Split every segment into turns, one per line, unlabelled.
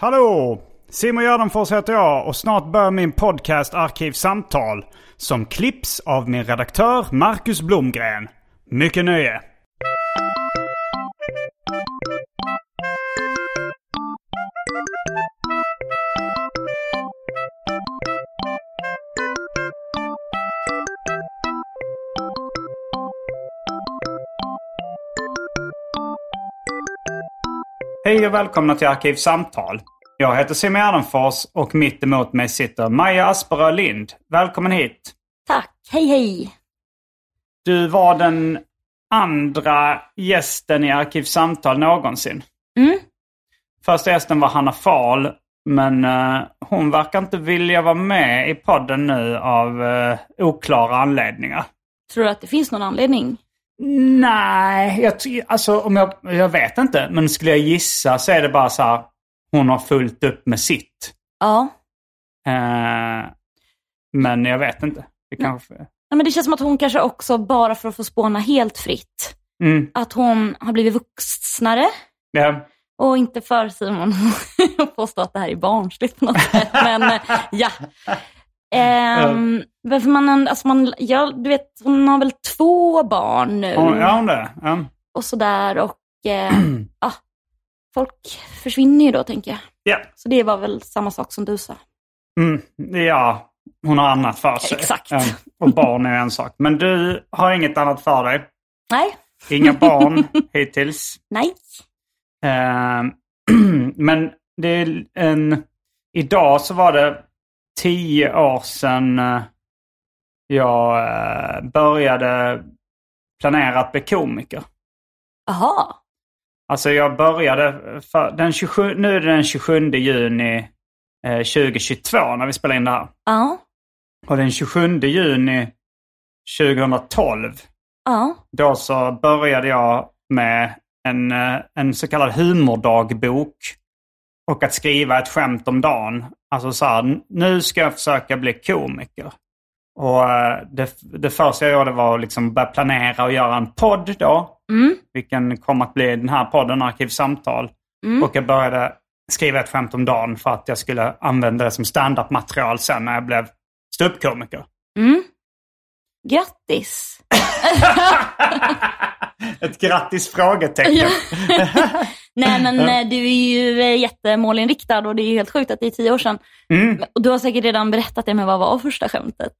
Hallå! Simon Gärdenfors heter jag och snart börjar min podcast Arkivsamtal som klipps av min redaktör Marcus Blomgren. Mycket nöje! Hej och välkomna till Arkivsamtal. Jag heter Simon Gärdenfors och mitt emot mig sitter Maja Asperö Lind. Välkommen hit!
Tack, hej hej!
Du var den andra gästen i Arkivsamtal någonsin.
Mm.
Första gästen var Hanna Fahl, men eh, hon verkar inte vilja vara med i podden nu av eh, oklara anledningar.
Tror du att det finns någon anledning?
Nej, jag, ty- alltså, om jag, jag vet inte. Men skulle jag gissa så är det bara så här, hon har fullt upp med sitt.
Ja.
Eh, men jag vet inte. Det kanske...
Nej, men det känns som att hon kanske också, bara för att få spåna helt fritt,
Mm,
att hon har blivit vuxnare
ja.
och inte för Simon att påstå att det här är barnsligt på något sätt. Men eh, ja. Ehm, men för man, alltså man, ja, du vet, hon har väl två barn nu
Hon, är hon det? Ja.
och sådär. Och, eh, ja, folk försvinner ju då, tänker jag.
Ja.
Så det var väl samma sak som du sa.
Mm, ja, hon har annat för sig.
Exakt.
Ja, och barn är en sak. Men du har inget annat för dig?
Nej,
Inga barn hittills?
nej.
Eh, men det är en... Idag så var det tio år sedan eh, jag eh, började planera att bli komiker.
Jaha.
Alltså jag började för, den 27, nu är det den 27 juni eh, 2022 när vi spelar in det här.
Ja.
Och den 27 juni 2012
Ja.
då så började jag med en, eh, en så kallad humordagbok och att skriva ett skämt om dagen. Alltså så här, n- nu ska jag försöka bli komiker. Och eh, det, det första jag gjorde var att liksom börja planera och göra en podd då.
Mm.
Vilken kom att bli den här podden, Arkivsamtal.
Mm.
Och jag började skriva ett skämt om dagen för att jag skulle använda det som standup-material sen när jag blev ståuppkomiker.
Mm. Grattis!
Ett grattis frågetecken.
Ja. Nej men eh, du är ju eh, jättemålinriktad och det är ju helt sjukt att det är tio år sedan.
Mm.
Och du har säkert redan berättat det, men vad var första skämtet?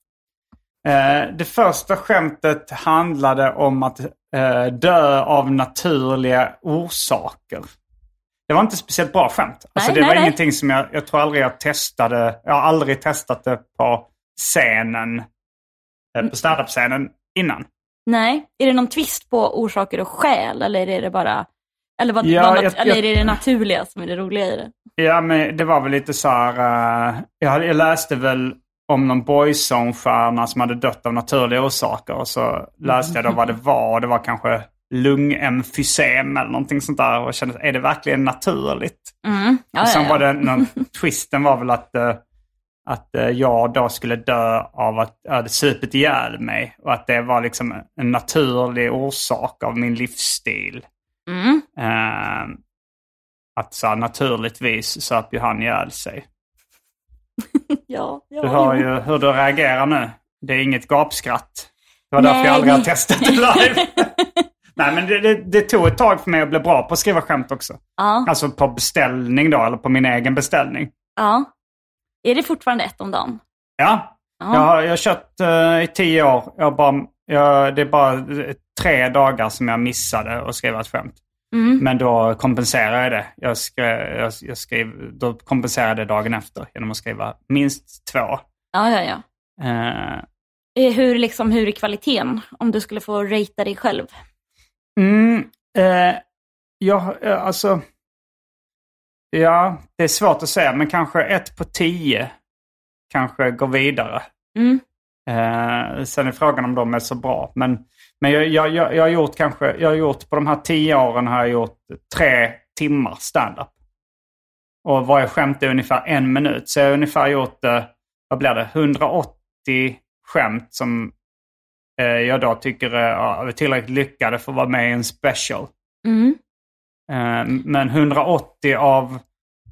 Eh, det första skämtet handlade om att eh, dö av naturliga orsaker. Det var inte speciellt bra skämt. Alltså,
Nej,
det
nej,
var
nej.
ingenting som jag, jag tror aldrig jag testade. Jag har aldrig testat det på scenen, eh, på standup-scenen innan.
Nej, är det någon twist på orsaker och skäl eller är det bara eller, vad,
Ja,
vad nat-
jag- jag-
eller är det det naturliga som är det roliga i det?
Ja, men det var väl lite så här... eh, jag, hade, jag läste väl om någon boyzone-stjärna som hade dött av naturliga orsaker. Och så läste jag då vad det var. Och det var kanske lungemfysem eller någonting sånt där. Och jag kände, är det verkligen naturligt?
Mm. Ja,
och
ja,
sen
ja.
var det, någon, twisten var väl att, eh, att eh, jag då skulle dö av att jag hade supit ihjäl mig. Och att det var liksom en naturlig orsak av min livsstil.
Mm.
Eh, att så här, naturligtvis söp ju han ihjäl sig.
ja, ja,
Du hör
jo.
ju hur du reagerar nu. Det är inget gapskratt. Det var därför
Nej.
jag aldrig har testat det live. Nej, men det, det, det tog ett tag för mig att bli bra på att skriva skämt också.
Ja.
Alltså på beställning då, eller på min egen beställning.
ja. Är det fortfarande ett om dagen?
Ja,
Ja.
Jag, har- jag har kört eh, i tio år. Jag har bara, jag, det är bara eh, tre dagar som jag missade att skriva ett skämt.
Mm.
Men då kompenserar jag det. Jag skrev, jag, jag skrev, då kompenserar jag det dagen efter genom att skriva minst två.
ja, ja, ja.
Eh,
Eh, Hur, liksom, hur är kvaliteten? Om du skulle få ratea dig själv.
Mm, eh, ja, eh, alltså... Ja, det är svårt att säga, men kanske ett på tio kanske går vidare.
Mm.
Eh, sen är frågan om de är så bra. Men, men jag, jag, jag, jag har gjort kanske, jag har gjort på de här tio åren har jag gjort tre timmar standup. Och varje skämt är ungefär en minut. Så jag har ungefär gjort, eh, vad blir det, 180 skämt som eh, jag då tycker är, ja, är tillräckligt lyckade för att vara med i en special.
Mm.
Eh, men 180 av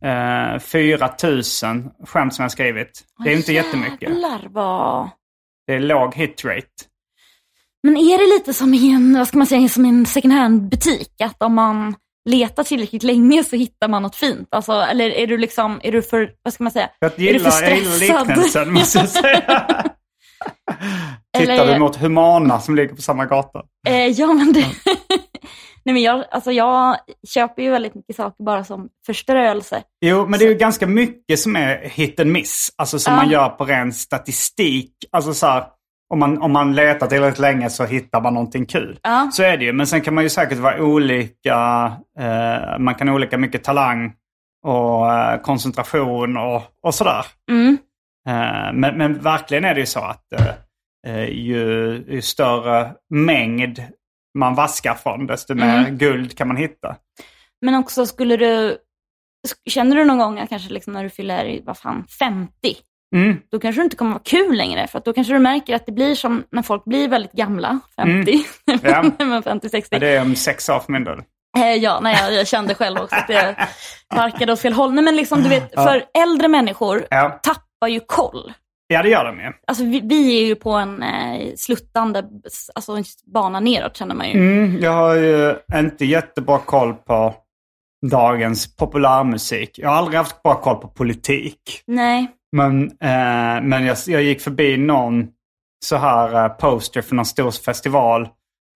eh, 4000 skämt som jag skrivit. Det är ju inte jättemycket.
Jävlar vad...
Det är låg hitrate.
Men är det lite som i en, vad ska man säga, som i en second hand-butik? Att om man letar tillräckligt länge så hittar man något fint? Alltså, eller är du liksom, är du för, vad ska man säga?
Jag
är du
gillar, jag gillar liknelsen måste jag säga.
Eller-
Tittar du mot Humana som ligger på samma gata?
Eh, ja, men det... Nej, men jag, alltså, jag köper ju väldigt mycket saker bara som förströelse.
Jo, men det är ju ganska mycket som är hit and miss. Alltså som
Ja.
man gör på ren statistik. Alltså så här, om man, om man letar tillräckligt länge så hittar man någonting kul.
Ja.
Så är det ju. Men sen kan man ju säkert vara olika. Eh, man kan ha olika mycket talang och eh, koncentration och, och sådär.
Mm.
Eh, Men, men verkligen är det ju så att eh, eh, ju, ju större mängd man vaskar från, desto mer guld kan man hitta.
Men också skulle du, sk- känner du någon gång att kanske liksom när du fyller, vad fan, 50,
Mm.
då kanske det inte kommer vara kul längre. För att då kanske du märker att det blir som när folk blir väldigt gamla, 50,
Ja.
men 50, 60.
Ja, Det är om sex år för min del.
Eh, Ja, nej, jag, jag kände själv också att jag parkade åt fel håll. Nej, men liksom, du vet, för äldre människor
Ja.
tappar ju koll.
ja, det gör de ju.
Alltså, vi, vi är ju på en eh, sluttande alltså, en bana neråt känner man ju.
Mm, jag har ju inte jättebra koll på dagens populärmusik. Jag har aldrig haft bra koll på politik.
Nej.
Men, eh, men jag, jag gick förbi någon så här eh, poster för någon stor festival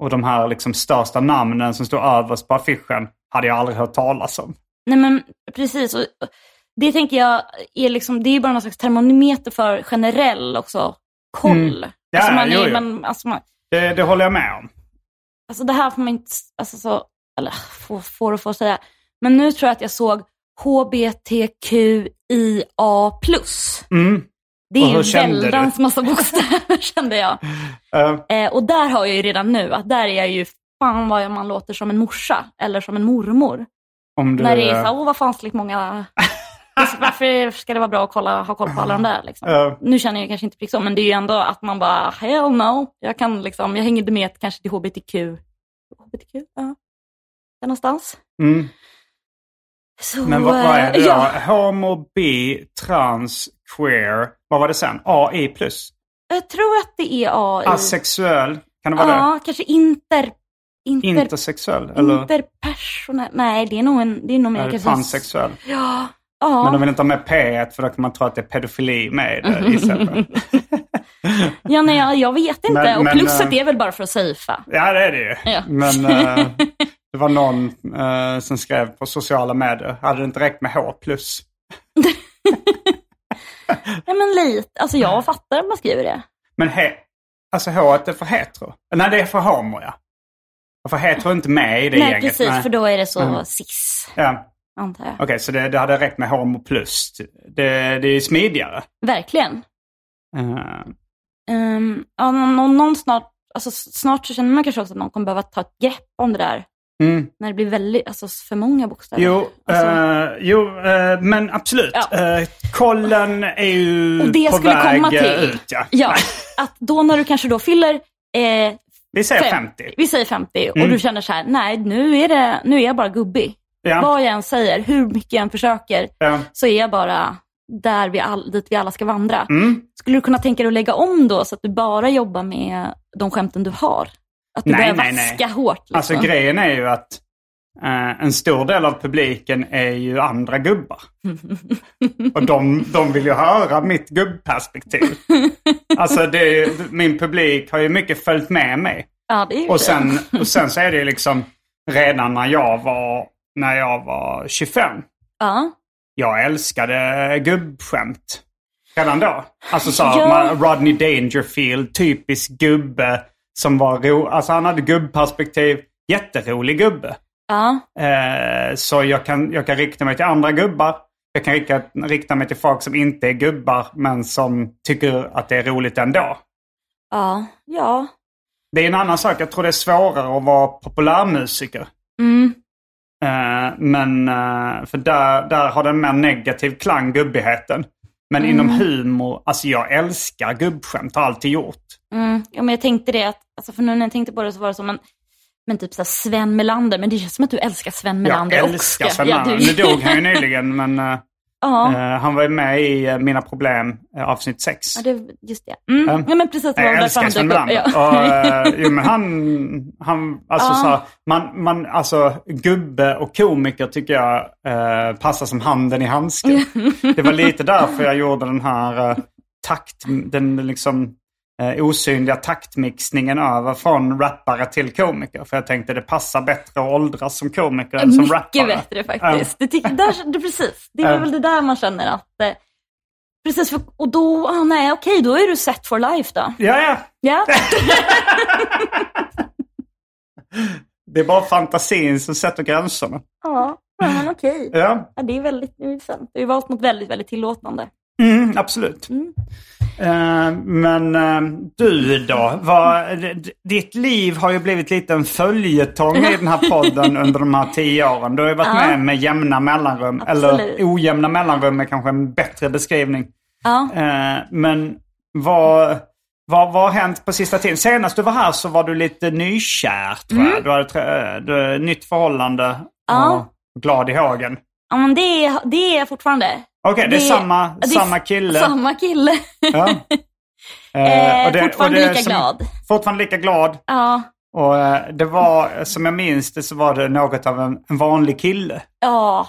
och de här liksom största namnen som stod överst på affischen hade jag aldrig hört talas om.
nej, men precis. Och, och det tänker jag är liksom, det är ju bara någon slags termometer för generell också koll.
Mm. Ja,
alltså, man
jo,
är,
jo.
man, alltså, man,
Det, det håller jag med om.
alltså det här får man inte, alltså så, eller får, får och får säga. Men nu tror jag att jag såg HBTQIA+.
Mm.
Det
Och
är
hur
ju
kände du?
väldans massa bokstäver kände jag.
Eh,
Eh, och där har jag ju redan nu att där är jag ju, fan vad jag- man låter som en morsa eller som en mormor.
om du, eh,
När det är så här, åh vad fansligt många, Alltså, varför ska det vara bra att kolla, ha koll på alla de där liksom?
Ja.
Nu känner jag kanske inte prick så, men det är ju ändå att man bara, hell no. Jag kan liksom, jag hänger inte med kanske till HBTQ. HBTQ? Ja. Där någonstans.
mm.
Så,
Men vad, vad är det
eh,
då?
Ja,
Homo, bi, trans, queer. Vad var det sen? AI plus?
jag tror att det är AI.
Ah, Asexuell? Kan det vara det?
Eh. ja, kanske inter... Inter...
Intersexuell? Eller
Interpersonell? Nej, det är nog, en, det är nog mer
är det
kanske...
pansexuell?
Ja.
Men
Ja.
de vill inte ha med P för då kan man tro att det är pedofili med i det. gissar jag på.
ja nej, jag, jag vet inte.
Men-
och
men,
plusset
eh,
är väl bara för att safea.
Ja, det är det ju.
Ja.
Men eh, det var någon eh, som skrev på sociala medier, hade det inte räckt med H plus?
Ja, men lite. Alltså jag fattar att man skriver det.
Men he, alltså H är för hetero? Nej, det är för homo ja. Och För hetero är inte med i det
Nej,
gänget.
precis.
nej.
För då är det så
Mm.
cis,
Ja.
antar jag.
Okej, så det, det hade räckt med homo plus. Det, det är ju smidigare.
Verkligen.
Eh,
Um, ja, någon, någon, någon snart, alltså, snart så känner man kanske också att någon kommer behöva ta ett grepp om det där.
mm.
När det blir väldigt, alltså, för många bokstäver.
Jo,
Alltså,
eh, jo eh, men absolut.
Ja.
Eh, kollen är ju
Och det jag
på
skulle
väg
komma
eh,
till-
ut. Ja.
ja, att då när du kanske då fyller eh,
Vi säger 50.
Vi säger 50 och
Mm.
du känner så här, nej nu är, det, nu är jag bara gubbig.
Ja.
Vad jag än säger, hur mycket jag än försöker,
Ja.
så är jag bara där vi all, dit vi alla ska vandra.
Mm.
Skulle du kunna tänka dig att lägga om då, så att du bara jobbar med de skämten du har? Att du
Nej,
börjar
nej, nej.
vaska hårt. Liksom.
Alltså grejen är ju att eh, en stor del av publiken är ju andra gubbar. Och de, de vill ju höra mitt gubbperspektiv. Alltså det är, ju- min publik har ju mycket följt med mig.
ja, det är ju
Och
det.
sen, och sen så är det ju liksom redan när jag var, när jag var 25.
ja.
Jag älskade gubbskämt. Redan då. Alltså så
Ja.
man, Rodney Dangerfield, typisk gubbe som var ro, Alltså han hade gubbperspektiv. Jätterolig gubbe.
Ja.
Eh, så jag kan, jag kan rikta mig till andra gubbar. Jag kan rikta, rikta mig till folk som inte är gubbar men som tycker att det är roligt ändå.
Ja. Ja.
Det är en annan sak. Jag tror det är svårare att vara populärmusiker.
Mm.
Eh, men eh, för där, där har den mer negativ klang, gubbigheten. Men
Mm.
inom humor, alltså jag älskar gubbskämt, har alltid gjort.
Mm. Ja, men jag tänkte det, att, alltså för nu när jag tänkte på det så var det som en, men typ så här Sven Melander, men det känns som att du älskar Sven Melander
jag
också.
älskar Sven
Ja,
Melander.
du-
Nu dog han ju nyligen, men eh,
ja.
eh, han var ju med i eh, Mina Problem, eh, avsnitt 6.
ja, det, just det. Mm.
Mm.
Ja, men precis. det var
Jag
därför
älskar
han
Sven
dök upp.
Melander.
Ja.
Och, eh, jo, men han, han, alltså, så här, man, man, alltså, gubbe och komiker tycker jag eh, passar som handen i handsken. Det var lite därför jag gjorde den här eh, takt, den liksom eh, osynliga taktmixningen över från rappare till komiker. För jag tänkte det passar bättre att åldras som komiker än som
Mycket
rappare.
bättre faktiskt. Det, tycker, där, det, precis. det är
Ja.
väl det där man känner att... Eh, precis, för, och då, ah, nej okej, då är du set for life då.
Ja, ja.
Ja,
Det är bara fantasin som sätter gränserna.
ja men okej.
Ja.
Ja, det är väldigt intressant. Du har valt något väldigt, väldigt tillåtande.
Mm, absolut. Eh, men eh, du då? Vad, d- d- ditt liv har ju blivit lite en följetong i den här podden under de här tio åren. Du har ju varit
Ja.
med med jämna mellanrum.
Absolut.
Eller ojämna mellanrum är kanske en bättre beskrivning.
Ja.
Eh, men vad, vad, vad har hänt på sista tiden? Senast du var här så var du lite nykär tror jag. Du hade trä- eh, du, nytt förhållande
Mm. Ja.
och glad i hågen.
Ja, men det, är- det är jag fortfarande.
Okej, det, är samma,
det är
samma
s-
kille.
Samma kille.
Ja.
Eh,
Eh, och det- och
fortfarande
det är
lika
som-
glad.
Fortfarande lika glad.
Ja,
Och eh, det var, eh, som jag minns det, så var det något av en, en vanlig kille.
ja,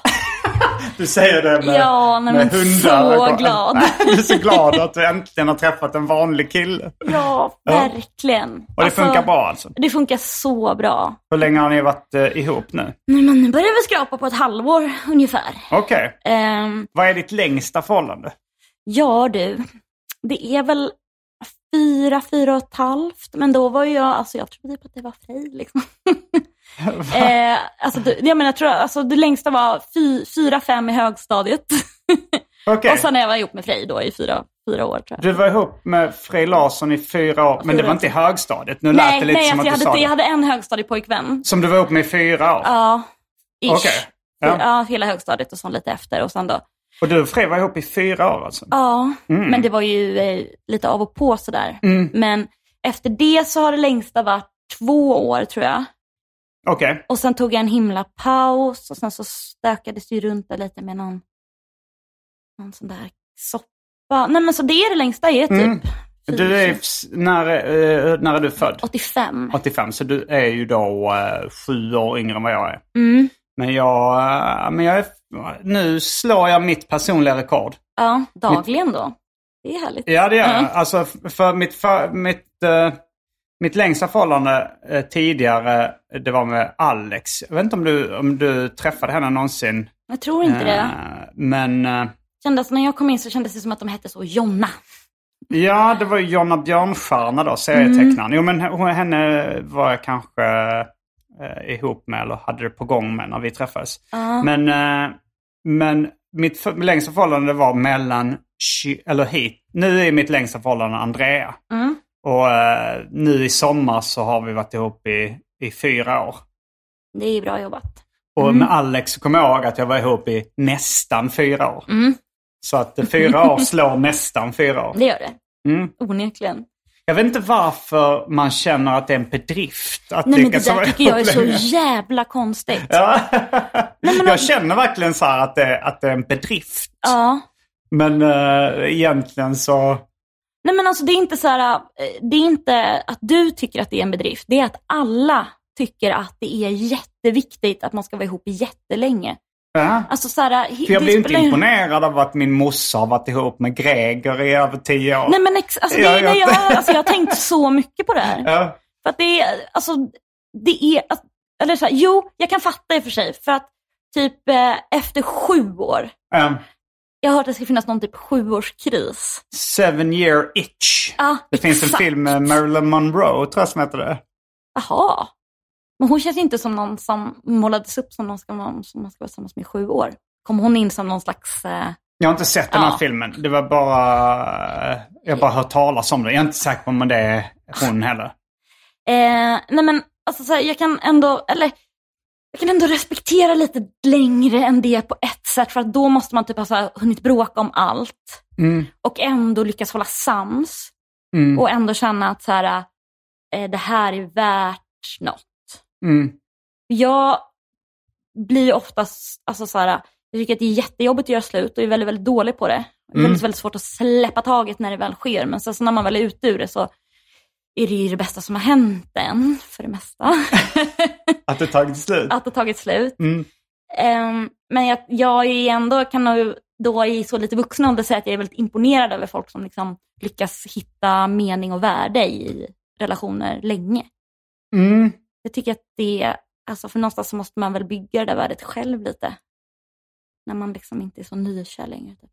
Du säger det med,
ja, nej, men
med hundar.
så glad.
Du är så glad att du äntligen har träffat en vanlig kille.
Ja, verkligen.
Och det funkar bra alltså?
Det funkar så bra.
Hur länge har ni varit eh, ihop nu?
Nej, men nu börjar vi skrapa på ett halvår ungefär.
Okej.
Ehm,
Vad är ditt längsta förhållande?
ja du, det är väl fyra, fyra och ett halvt, men då var ju jag, alltså jag trodde typ att det var Frej liksom. eh, alltså, det- jag menar, jag tror, alltså det längsta var fy, fyra, fem i högstadiet.
Okej.
Och sen när jag var ihop med Frej då i fyra, fyra år tror jag.
Du var ihop med Frej Larsson i fyra år, men det var inte i högstadiet. Nu lät
Nej,
det lite
nej
som
alltså, jag,
att du sa
hade, jag
det.
hade en högstadiepojkvän.
Som du var ihop med i fyra år.
Ja, ish.
Okej.
Ja.
Ja.
hela högstadiet och sen lite efter och sen då.
Och du och Frej var ihop i fyra år alltså?
Ja, men det var ju eh, lite av och på sådär.
Mm.
Men efter det så har det längsta varit två år tror jag.
Okej.
Och sen tog jag en himla paus och sen så stökades det ju runt där lite med någon, någon sån där soppa. Nej men så det är det längsta är typ.
Mm. Du är,
fyra-
f- när, eh, när är du född?
85.
85, så du är ju då eh, sju år yngre än vad jag är.
Mm.
Men jag, eh, men jag är, nu slår jag mitt personliga rekord.
Ja, dagligen då. Det är härligt.
Ja, det gör jag.
Mm.
Alltså, f- för mitt, för, mitt, eh, mitt längsta förhållande eh, tidigare, eh, det var med Alex. Jag vet inte om du, om du träffade henne någonsin.
Jag tror inte det.
Eh, Men eh,
Kändes, när jag kom in så kändes det som att de hette så Jonna.
ja, det var ju Jonna Björnstjärna då, serietecknaren. Jo, men hon- henne var jag kanske eh, ihop med eller hade det på gång med när vi träffades.
Ja.
Men, eh, men mitt för, längsta förhållande var mellan, tj- eller hit, nu är mitt längsta förhållande Andrea.
Mm.
Och eh, nu i sommar så har vi varit ihop i, i fyra år.
Det är bra jobbat.
Och med Alex så kommer jag ihåg att jag var ihop i nästan fyra år.
Mm.
Så att eh, fyra år slår nästan fyra år.
Det gör det.
Mm.
Onekligen.
Jag vet inte varför man känner att det är en bedrift att
Nej men det
lyckas
där
vara
tycker jag är
ihop
så
länge.
jävla konstigt. Ja.
Ja. jag känner verkligen så här att det, att det är en bedrift. Men eh, egentligen så,
Nej men alltså det är inte så här, eh, det är inte att du tycker att det är en bedrift. Det är att alla tycker att det är jätteviktigt att man ska vara ihop jättelänge.
Ja.
Alltså så här, he-
För jag
det
blir inte
spelar ju-
imponerad av att min morsa har varit ihop med Greger i över tio år.
Nej men ex- alltså,
Ja,
nej,
jag
nej, jag,
vet.
alltså, jag har tänkt så mycket på det här.
Ja.
För att det är, alltså, det är, att- eller så här, jo, jag kan fatta i och för sig. För att typ eh, efter sju år,
Ja.
jag har hört att det ska finnas någon typ sjuårskris.
Seven year itch.
Ja,
Det finns en film med Marilyn Monroe, tror jag som heter det.
Jaha. Men hon känns inte som någon som målades upp som någon ska, vara- som man ska vara tillsammans med i sju år. Kom hon in som någon slags... Eh,
Jag har inte sett den här
Ja.
filmen. Det var bara... eh, Jag har bara hört talas om det. Jag är inte säker på om det är hon heller.
eh, nej men, alltså så här, jag kan ändå... Eller, jag kan ändå respektera lite längre än det på ett sätt. För att då måste man typ ha så här, hunnit bråka om allt.
Mm.
Och ändå lyckas hålla sams.
Mm.
Och ändå känna att så här, eh, det här är värt något.
Mm.
Jag blir ju oftast, alltså så här, jag tycker att det är jättejobbigt att göra slut och är väldigt, väldigt dålig på det. Det är
Mm.
väldigt, väldigt svårt att släppa taget när det väl sker. Men sen så när man väl är ute ur det så är det ju det bästa som har hänt en, för det mesta.
Att det tagit slut.
att det tagit slut.
Mm.
Ehm, men jag, jag är ändå, kan nog då i så lite vuxen ålder säga att jag är väldigt imponerad över folk som liksom lyckas hitta mening och värde i relationer länge.
Mm.
Jag tycker att det, alltså för någonstans så måste man väl bygga det där värdet själv lite. När man liksom inte är så nykär längre. typ.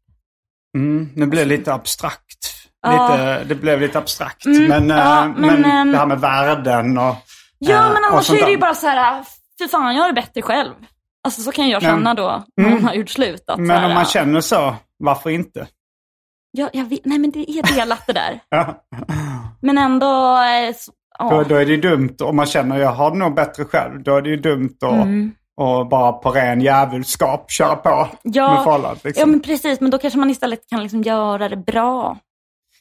Mm. Nu blev det lite abstrakt.
Ja.
Lite, det blev lite abstrakt.
Mm,
Men,
ja,
eh, men,
men, ehm,
det här med värden och...
Ja,
eh,
men
och
annars
sånt
är det ju
där.
bara så här, fy fan jag har det bättre själv. Alltså så kan jag
Men-
känna då, när
Mm.
man har gjort slut. Att så
Men
här,
om man känner så, varför inte?
ja, jag vet, nej men det är delat det där.
Ja.
Men ändå, eh, så,
Då,
ja.
då är det ju dumt, om man känner jag har det nog bättre själv, då är det ju dumt att
Mm.
att bara på ren djävulskap köra på
Ja.
med förhållandet. Liksom.
ja, men precis. Men då kanske man istället kan liksom göra det bra.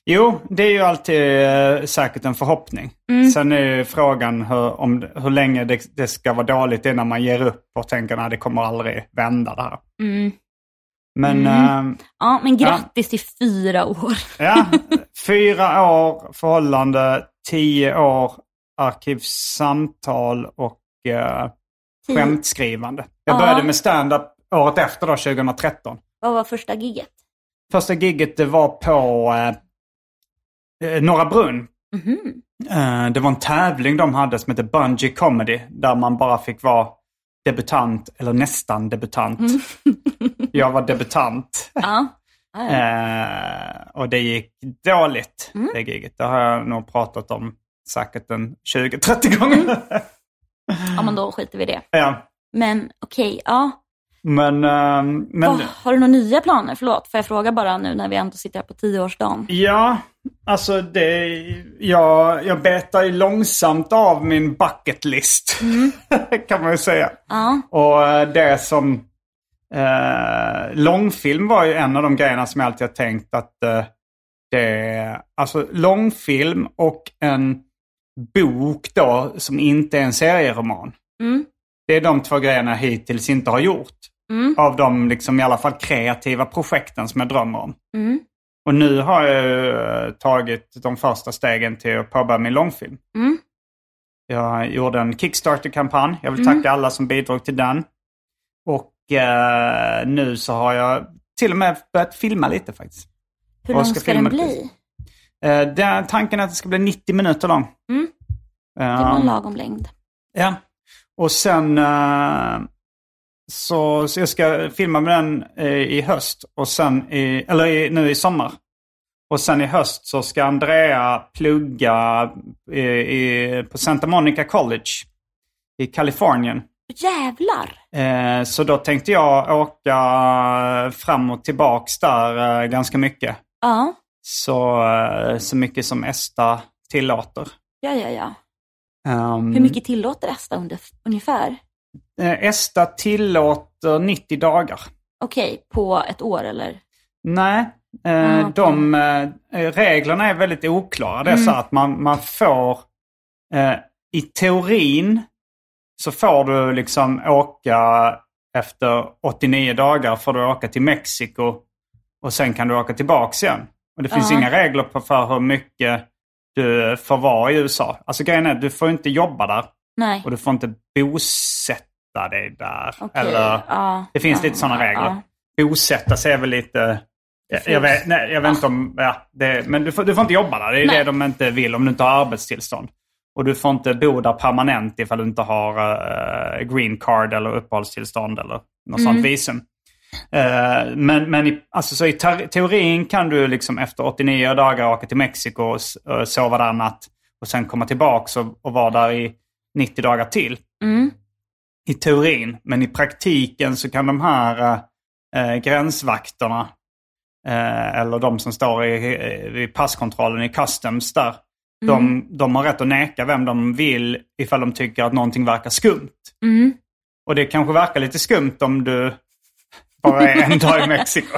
Jo, det är ju alltid eh, säkert en förhoppning.
Mm.
Sen är ju frågan hur, om, hur länge det, det ska vara dåligt innan man ger upp och tänker att det kommer aldrig vända det här.
Mm.
Men eh,
Ja, men grattis till fyra år.
ja, fyra år förhållande, tio år arkivsamtal och eh, skämtskrivande. Jag
Mm. Ja.
började med stand-up året efter då, 2013.
Vad var första giget?
Första gigget det var på eh, eh, Norra Brunn.
Mhm.
Eh, det var en tävling de hade som hette Bungee Comedy. Där man bara fick vara debutant eller nästan debutant. Jag var debutant.
Ja. Ja, ja.
Eh, och det gick dåligt det giget. Det har jag nog pratat om säkert en 20-30 gånger.
ja, men då skiter vi i det.
ja.
Men okej, ja.
Men, eh, men
Åh, har du några nya planer? Förlåt, får jag fråga bara nu när vi ändå sitter här på tioårsdagen?
Ja, alltså det, jag, jag betar ju långsamt av min bucket list. kan man ju säga.
Ja,
Och eh, det som... Eh, långfilm var ju en av de grejerna som jag alltid har tänkt att eh, det... Alltså långfilm och en bok då som inte är en serieroman.
Mm.
Det är de två grejerna jag hittills inte har gjort.
Mm.
Av de liksom i alla fall kreativa projekten som jag drömmer om.
mm,
Och nu har jag ju eh, tagit de första stegen till att påbörja min långfilm.
Mm.
Jag gjorde en Kickstarter-kampanj. Jag vill
Mm.
tacka alla som bidrog till den. Och eh, nu så har jag till och med börjat filma lite faktiskt.
hur
Vad
lång
ska
ska den
filmen
bli?
Eh, den, tanken är att det ska bli 90 minuter lång.
Mm. Det var
Eh,
en lagom längd.
Ja. Och sen eh, så, så jag ska filma med den eh, i höst. Och sen i, eller i, nu i sommar. Och sen i höst så ska Andrea plugga i, i, på Santa Monica College i Kalifornien.
Jävlar!
Eh, så då tänkte jag åka fram och tillbaks där eh, ganska mycket.
Ja,
Så, eh, så mycket som ESTA tillåter.
ja, ja. ja.
Ehm,
Hur mycket tillåter Esta under, ungefär?
eh, ESTA tillåter 90 dagar.
Okej, på ett år eller?
Nej, eh,
Ah, okej.
de eh, reglerna är väldigt oklara. Det är
Mm.
så att man, man får, eh, i teorin så får du liksom åka efter 89 dagar får du åka till Mexiko och sen kan du åka tillbaks igen. Och det finns
Ja.
inga regler på- för hur mycket du får vara i USA. Alltså grejen är, du får inte jobba där
Nej.
och du får inte bosätta dig där.
Okej.
Eller,
Ja,
det finns
ja,
lite sådana
ja,
regler.
ja.
Bosätta sig är väl lite... Jag, jag vet, nej, jag vet inte om... Ja, det, men du får, du får inte jobba där. Det är
Nej.
det de inte vill om du inte har arbetstillstånd. Och du får inte bo där permanent ifall du inte har eh, green card eller uppehållstillstånd eller något
Mm.
sånt visum. Eh, men men i, alltså, så i ter- teorin kan du liksom efter 89 dagar åka till Mexiko och s- eh, sova där en natt och sen komma tillbaka och, och vara där i 90 dagar till
Mm.
i teorin. Men i praktiken så kan de här eh, eh, gränsvakterna eh, eller de som står i, eh, vid passkontrollen i customs där.
Mm.
De, de har rätt att neka vem de vill ifall de tycker att någonting verkar skumt.
Mm.
Och det kanske verkar lite skumt om du bara är en dag i Mexiko.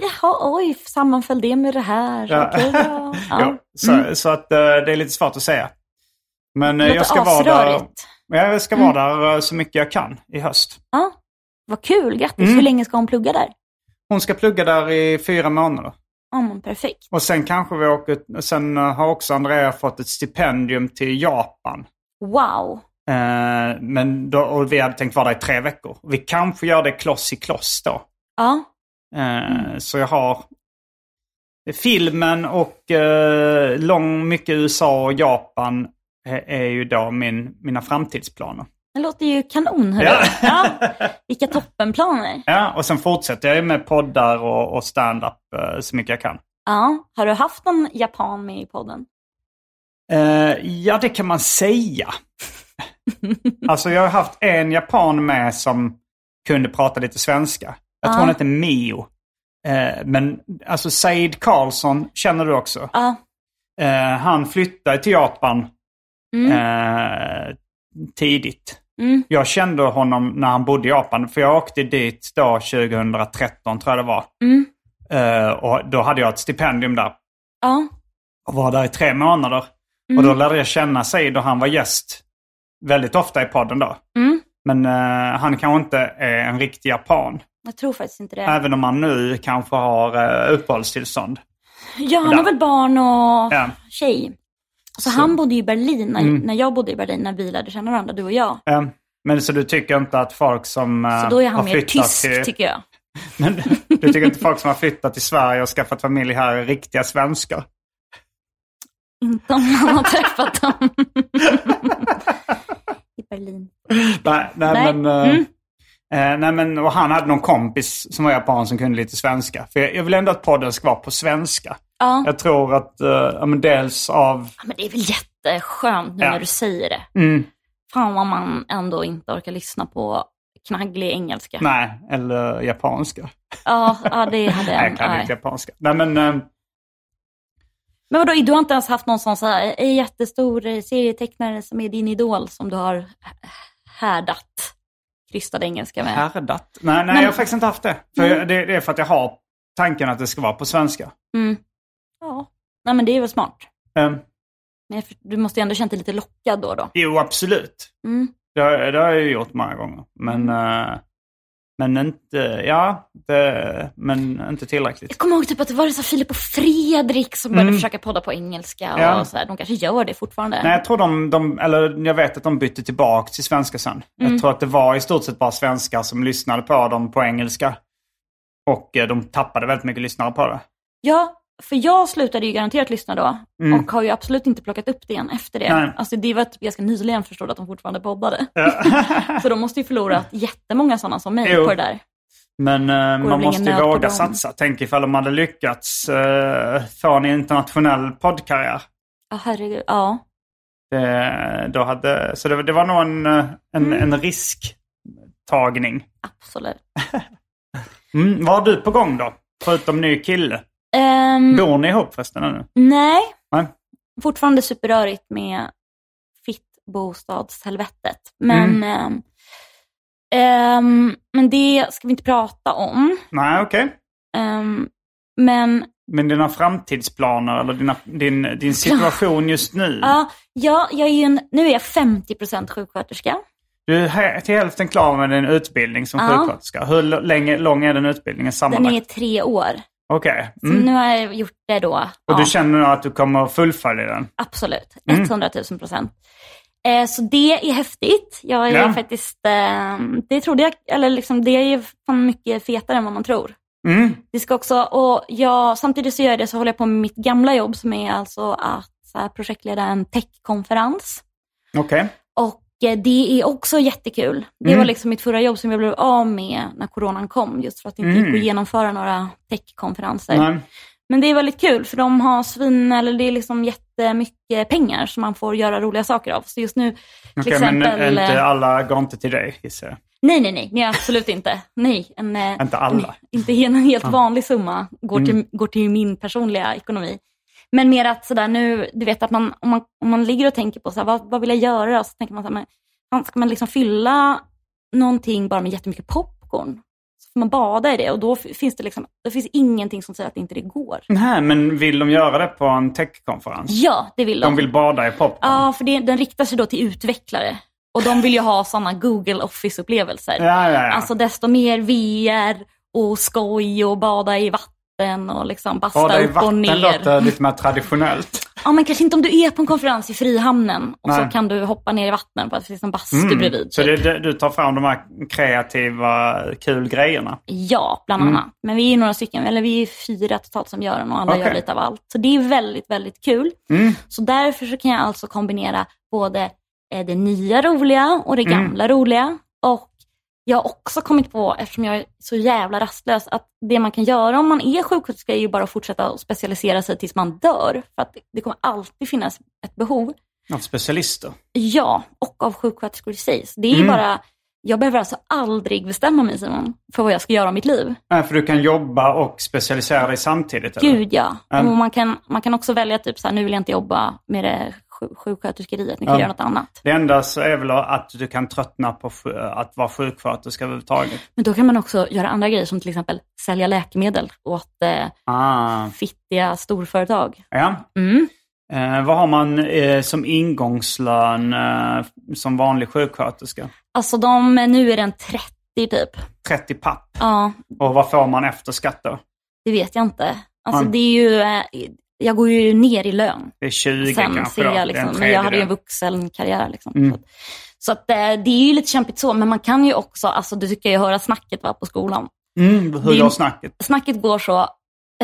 Jaha, oj, sammanföll det med det här?
Ja.
Okej, ja. ja.
Jo, så, så att eh, det är lite svårt att säga. Men eh,
Låter
jag ska, vara där,
asrörigt. Mm.
jag ska vara där eh, så mycket jag kan i höst.
ja. Vad kul, grattis.
Mm.
Hur länge ska hon plugga där?
Hon ska plugga där i fyra månader.
Ja, men perfekt.
Och sen kanske vi åker, och sen eh, har också Andrea fått ett stipendium till Japan.
Wow.
Eh, men då, och vi hade tänkt vara där i tre veckor. Vi kanske gör det kloss i kloss då.
Ja,
Eh, Så jag har filmen och eh, lång, mycket USA och Japan eh, är ju då min, mina framtidsplaner.
det låter ju kanon. Hörru. Ja. Vilka toppenplaner.
Ja, och sen fortsätter jag ju med poddar och, och stand-up eh, så mycket jag kan.
Ja. Har du haft någon japan med i podden?
Eh, ja, det kan man säga. alltså jag har haft en japan med som kunde prata lite svenska. Jag tror hon hette Mio. Eh, men alltså Said Karlsson känner du också.
Ja.
Eh, han flyttade till Japan eh, tidigt.
Mm.
Jag kände honom när han bodde i Japan, för jag åkte dit då 2013 tror jag det var.
Mm.
Eh, och då hade jag ett stipendium där
Ja.
och var där i tre månader. Och
Mm.
då lärde jag känna sig då han var gäst väldigt ofta i podden då.
Mm.
Men eh, han kanske inte är en riktig japan.
Jag tror faktiskt inte det.
Även om han nu kanske har uh, uppehållstillstånd.
Ja, han
Där.
har väl barn och
Ja. Mm.
tjej. Så, han bodde ju i Berlin när, när jag bodde i Berlin, när vi lärde känna varandra, du och jag.
Eh, men så du tycker inte att folk som eh,
Så då är
har
han mer
flyttat
tysk,
till...
tycker jag.
Men du tycker inte folk som har flyttat till Sverige och skaffat familj här är riktiga svenskar?
Inte om han har träffat dem. I Berlin.
Nej, nej,
Nej. Mm.
men... eh, eh, nej, men och han hade någon kompis som var japan som kunde lite svenska. För jag, jag vill ändå att podden ska vara på svenska.
Ja.
Jag tror att eh, ja, men dels av...
Ja, Men det är väl jätteskönt nu
Ja.
när du säger det.
Mm,
Fan vad man ändå inte orkar lyssna på knagglig engelska.
nej, eller japanska.
Ja, ja, det hade
Nej,
jag.
jag kan
Nej.
inte japanska. Nej, men... eh,
Men vadå, du har inte ens haft någon sån så här, eh, jättestor eh, serietecknare som är din idol som du har härdat krystad engelska med?
härdat? Nej, nej
Men-
jag har faktiskt inte haft det. För jag, det. Det är för att jag har tanken att det ska vara på svenska.
Mm. Ja. Nej men det är väl smart.
Um,
Men jag för- du måste ju ändå känt dig lite lockad då och då.
jo, absolut.
Mm.
Det har, det har jag ju gjort många gånger. Men, eh, men inte, ja, det, men inte tillräckligt.
Jag kommer ihåg typ att det var så här Filip och Fredrik som började
Mm.
försöka podda på engelska och
Ja.
så här. De kanske gör det fortfarande.
Nej, jag tror de, de, eller jag vet att de bytte tillbaka till svenska sen.
Mm.
Jag tror att det var i stort sett bara svenskar som lyssnade på dem på engelska. Och eh, de tappade väldigt mycket lyssnare på det.
Ja, för jag slutade ju garanterat lyssna då
Mm.
och har ju absolut inte plockat upp det igen efter det.
Nej.
Alltså det var typ ganska nyligen förstod att de fortfarande poddade. så de måste ju förlora jättemånga sådana som mig
Mm. Jo.
på det där.
Men eh,
väl
man
ingen
måste ju
nöd på
våga
dem.
satsa. Tänk ifall de hade lyckats eh, få en internationell poddkarriär.
Ja, herregud. Ja.
Det, då hade, så det, var- det var nog en, eh, en,
Mm.
en risktagning.
Absolut.
Mm, vad har du på gång då? Förutom ny kille.
Ehm,
Bor ni ihop förresten nu?
nej,
Nej.
fortfarande superrörigt med fittbostadshelvetet.
Mm.
Men, ehm, ehm, men det ska vi inte prata om.
Nej, okej.
Ehm, men
Men dina framtidsplaner eller dina, din, din situation just nu?
ja, ja, jag är ju en, nu är jag 50% sjuksköterska.
Du är he- till hälften klar med din utbildning som
Ja.
sjuksköterska. Hur l- länge, lång är den utbildningen
Den
sammanlagt?
är tre år.
Okej.
Så
Mm.
nu har jag gjort det då.
Och
Ja.
du känner att du kommer att fullfölja den?
Absolut,
Mm.
100 000 procent. Eh, så det är häftigt. Jag är
Ja.
faktiskt, eh, det trodde jag, eller liksom, det är ju fan mycket fetare än vad man tror.
Mm.
Vi ska också, och jag, samtidigt så gör jag det så håller jag på med mitt gamla jobb som är alltså att så här, projektleda en techkonferens.
Okej.
Och eh, det är också jättekul. Det
Mm.
var liksom mitt förra jobb som jag blev av med när coronan kom, just för att det inte
Mm.
gick att genomföra några techkonferenser.
Nej.
Men det är väldigt kul för de har svin, eller det är liksom jättemycket pengar som man får göra roliga saker av. Så just nu, till
Okej, men
exempel... eh,
inte alla går inte till dig gissar jag.
Nej, nej, nej, nej, absolut inte. Nej, en, eh,
Inte alla.
inte en helt
Ja. Mm.
vanlig summa går, till, går till min personliga ekonomi. Men mer att sådär nu, du vet att man, om man, om man ligger och tänker på såhär, vad, vad vill jag göra? Så tänker man såhär, men, fan, ska man liksom fylla någonting bara med jättemycket popcorn? Så får man bada i det och då f- finns det liksom, det finns ingenting som säger att inte det går.
Nej, men vill de göra det på en techkonferens?
Ja, det vill de.
De vill bada i popcorn?
Ja, för det, den riktar sig då till utvecklare. Och de vill ju ha sådana Google Office-upplevelser.
ja, ja, ja.
Alltså desto mer VR och skoj och bada i vatten och liksom basta
bada i
upp och
vatten
ner.
låter lite mer traditionellt.
Ja, men kanske inte om du är på en konferens i Frihamnen och
Nej.
så kan du hoppa ner i vattnet för att det finns en bastu
Mm.
bredvid.
Så
typ.
det, det, du tar fram de här kreativa, kul grejerna?
Ja, bland
Mm.
annat. Men vi är några stycken, eller vi är fyra totalt som gör den och alla
Okej.
gör lite av allt. Så det är väldigt, väldigt kul.
Mm.
Så därför så kan jag alltså kombinera både eh, det nya roliga och det
Mm.
gamla roliga. Och jag har också kommit på, eftersom jag är så jävla rastlös, att det man kan göra om man är sjuksköterska är ju bara att fortsätta att specialisera sig tills man dör. För att det kommer alltid finnas ett behov.
Av specialister?
Ja, och av sjuksköterskor i sig. Så det är ju
Mm.
bara, jag behöver alltså aldrig bestämma mig Simon, för vad jag ska göra av mitt liv.
Nej, för du kan jobba och specialisera dig samtidigt? eller?
Gud ja.
Mm.
Och man kan, man kan också välja typ så här, nu vill jag inte jobba med det sju- sjuksköterskeriet, ni kan
Ja.
göra något annat.
Det enda så är väl att du kan tröttna på sj- att vara sjuksköterska överhuvudtaget.
Men då kan man också göra andra grejer som till exempel sälja läkemedel åt eh,
Ah,
fittiga storföretag.
ja.
Mm.
Eh, vad har man eh, som ingångslön eh, som vanlig sjuksköterska?
Alltså de, nu är den 30 typ.
30 papp.
Ja,
Och vad får man efter skatt då?
det vet jag inte. Alltså
Mm.
det är ju, eh, jag går ju ner i lön
Det är 20
sen
kanske
ser
då. Det är
jag
en
liksom, men jag hade ju en
tredjedel.
vuxenkarriär liksom.
Mm.
Så, att, så att, eh, det är ju lite kämpigt så, men man kan ju också, alltså du tycker jag höra snacket va, på skolan.
Mm, hur
Det är-
går snacket?
snacket går så,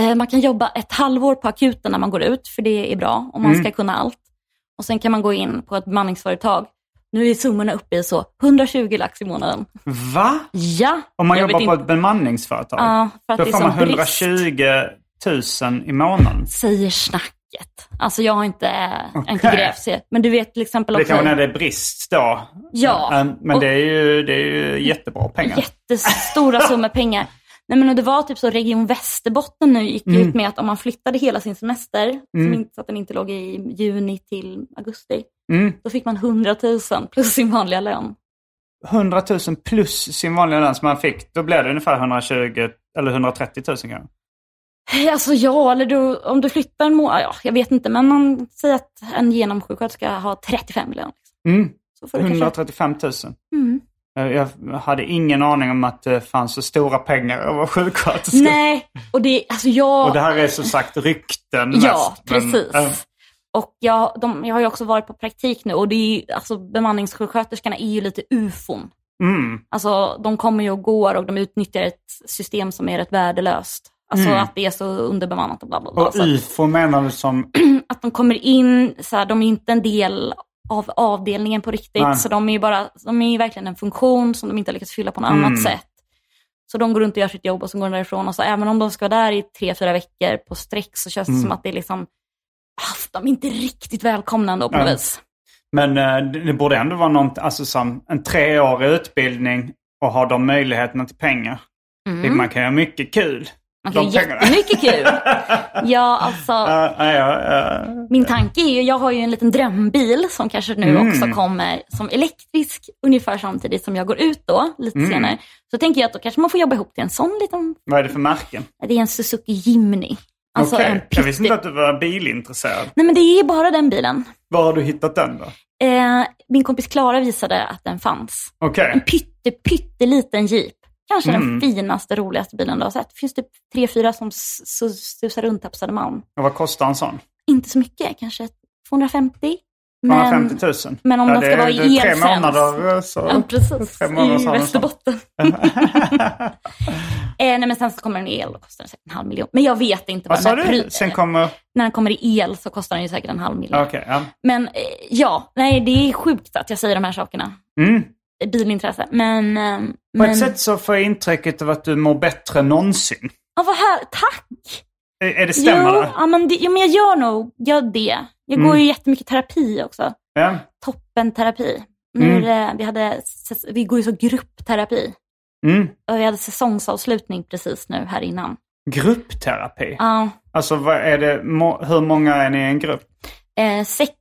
eh, man kan jobba ett halvår på akuten när man går ut, för det är bra om man
Mm.
ska kunna allt. Och Sen kan man gå in på ett bemanningsföretag. Nu är summorna uppe i så 120 lax i månaden.
Va?
Ja,
Om man
jag
jobbar
vet
på
inte-
ett bemanningsföretag?
Ja, för att
då
det är
får
sån
man 120 000 i månaden.
säger snacket. Alltså jag har inte, okay. inte
Okej.
grävt sig. Men du vet till exempel
Det
också
kan vara när det är brist då.
Ja.
Eh, Men
Och-
det är, ju, det är ju jättebra pengar.
jättestora summor pengar. Nej, men och det var typ så Region Västerbotten nu gick
Mm.
ut med att om man flyttade hela sin semester, som
Mm.
inte, så att den inte låg i juni till augusti,
Mm.
Då fick man 100 000 plus sin vanliga lön.
100 000 plus sin vanliga lön som man fick. Då blir det ungefär 120 eller 130 000 kanske.
Alltså ja, eller du, om du flyttar en månad, ja, jag vet inte, men man säger att en genomsjuksköterska har 35 lön. liksom.
Mm.
Så får du kanske...
135 000.
Mm.
Eh, Jag hade ingen aning om att det fanns så stora pengar att vara sjuksköterska.
Nej, och det, alltså jag...
Och det här är som sagt rykten
ja,
mest, men,
precis.
eh,
Och jag, de, jag har ju också varit på praktik nu och det är ju, alltså bemanningssjuksköterskorna är ju lite ufon.
mm.
Alltså de kommer ju och går och de utnyttjar ett system som är rätt värdelöst. Alltså
Mm.
att det är så underbemannat och bla bla bla.
Och
Så att-
UFO menar du som...
att de kommer in, så här, de är inte en del av avdelningen på riktigt.
Nej.
Så de är, ju bara, de är ju verkligen en funktion som de inte har lyckats fylla på något
Mm.
annat sätt. Så de går runt och gör sitt jobb och så går de därifrån. Och så även om de ska vara där i tre, fyra veckor på sträck så känns det
Mm.
som att det är liksom, ah, de är inte riktigt välkomna ändå på något
Nej.
vis.
Men eh, det det borde ändå vara något, alltså som en treårig utbildning och ha de möjligheterna till pengar. Det-
Mm.
Man kan göra mycket kul.
Man kan
de
ju
pengarna.
jättemycket kul. Ja, alltså
Eh, eh, eh,
min tanke är ju, jag har ju en liten drömbil som kanske nu
Mm.
också kommer som elektrisk ungefär samtidigt som jag går ut då, lite
Mm.
senare. Så tänker jag att då kanske man får jobba ihop till en sån liten,
vad är det för märken?
det är en Suzuki Jimny. Alltså
Okej.
en
Jag visste inte
pytte-
att du var bilintresserad.
Nej men det är bara den bilen.
Var har du hittat den då?
Eh, min kompis Klara visade att den fanns.
Okej.
En pytte, pytteliten jeep. Kanske
Mm.
den finaste, roligaste bilen du har sett. Det finns typ tre, fyra som s- s- susar runt här på Södermalm.
Och vad kostar en sån?
Inte så mycket, kanske 250. Men,
250 000?
men om
ja,
den ska
det,
vara i
det är tre
el sen.
månader eh, så...
Ja, precis.
Fem månader
I
sa de så.
Västerbotten. eh, nej, men sen så kommer den i el och kostar den säkert en halv miljon. Men jag vet inte
vad
vad,
sa
den här
du?
pry-
Sen kommer...
När den kommer i el så kostar den ju säkert en halv miljon.
Okej, ja.
Men eh, ja, nej det är sjukt att jag säger de här sakerna.
Mm.
Eh, Bilintresse. Men... eh,
På
men
ett sätt så får jag intrycket av att du mår bättre än någonsin.
ja, vad här, tack!
Är, är det stämmer
jo,
det?
ja, men det, ja, men jag gör nog gör det. Jag
Mm.
går ju jättemycket terapi också.
Ja.
Toppenterapi. Nu,
Mm.
eh, vi, hade, säs- vi går ju så gruppterapi.
Mm.
Och vi hade säsongsavslutning precis nu här innan.
Gruppterapi?
Ja,
Alltså vad är det, må, hur många är ni i en grupp?
eh, sex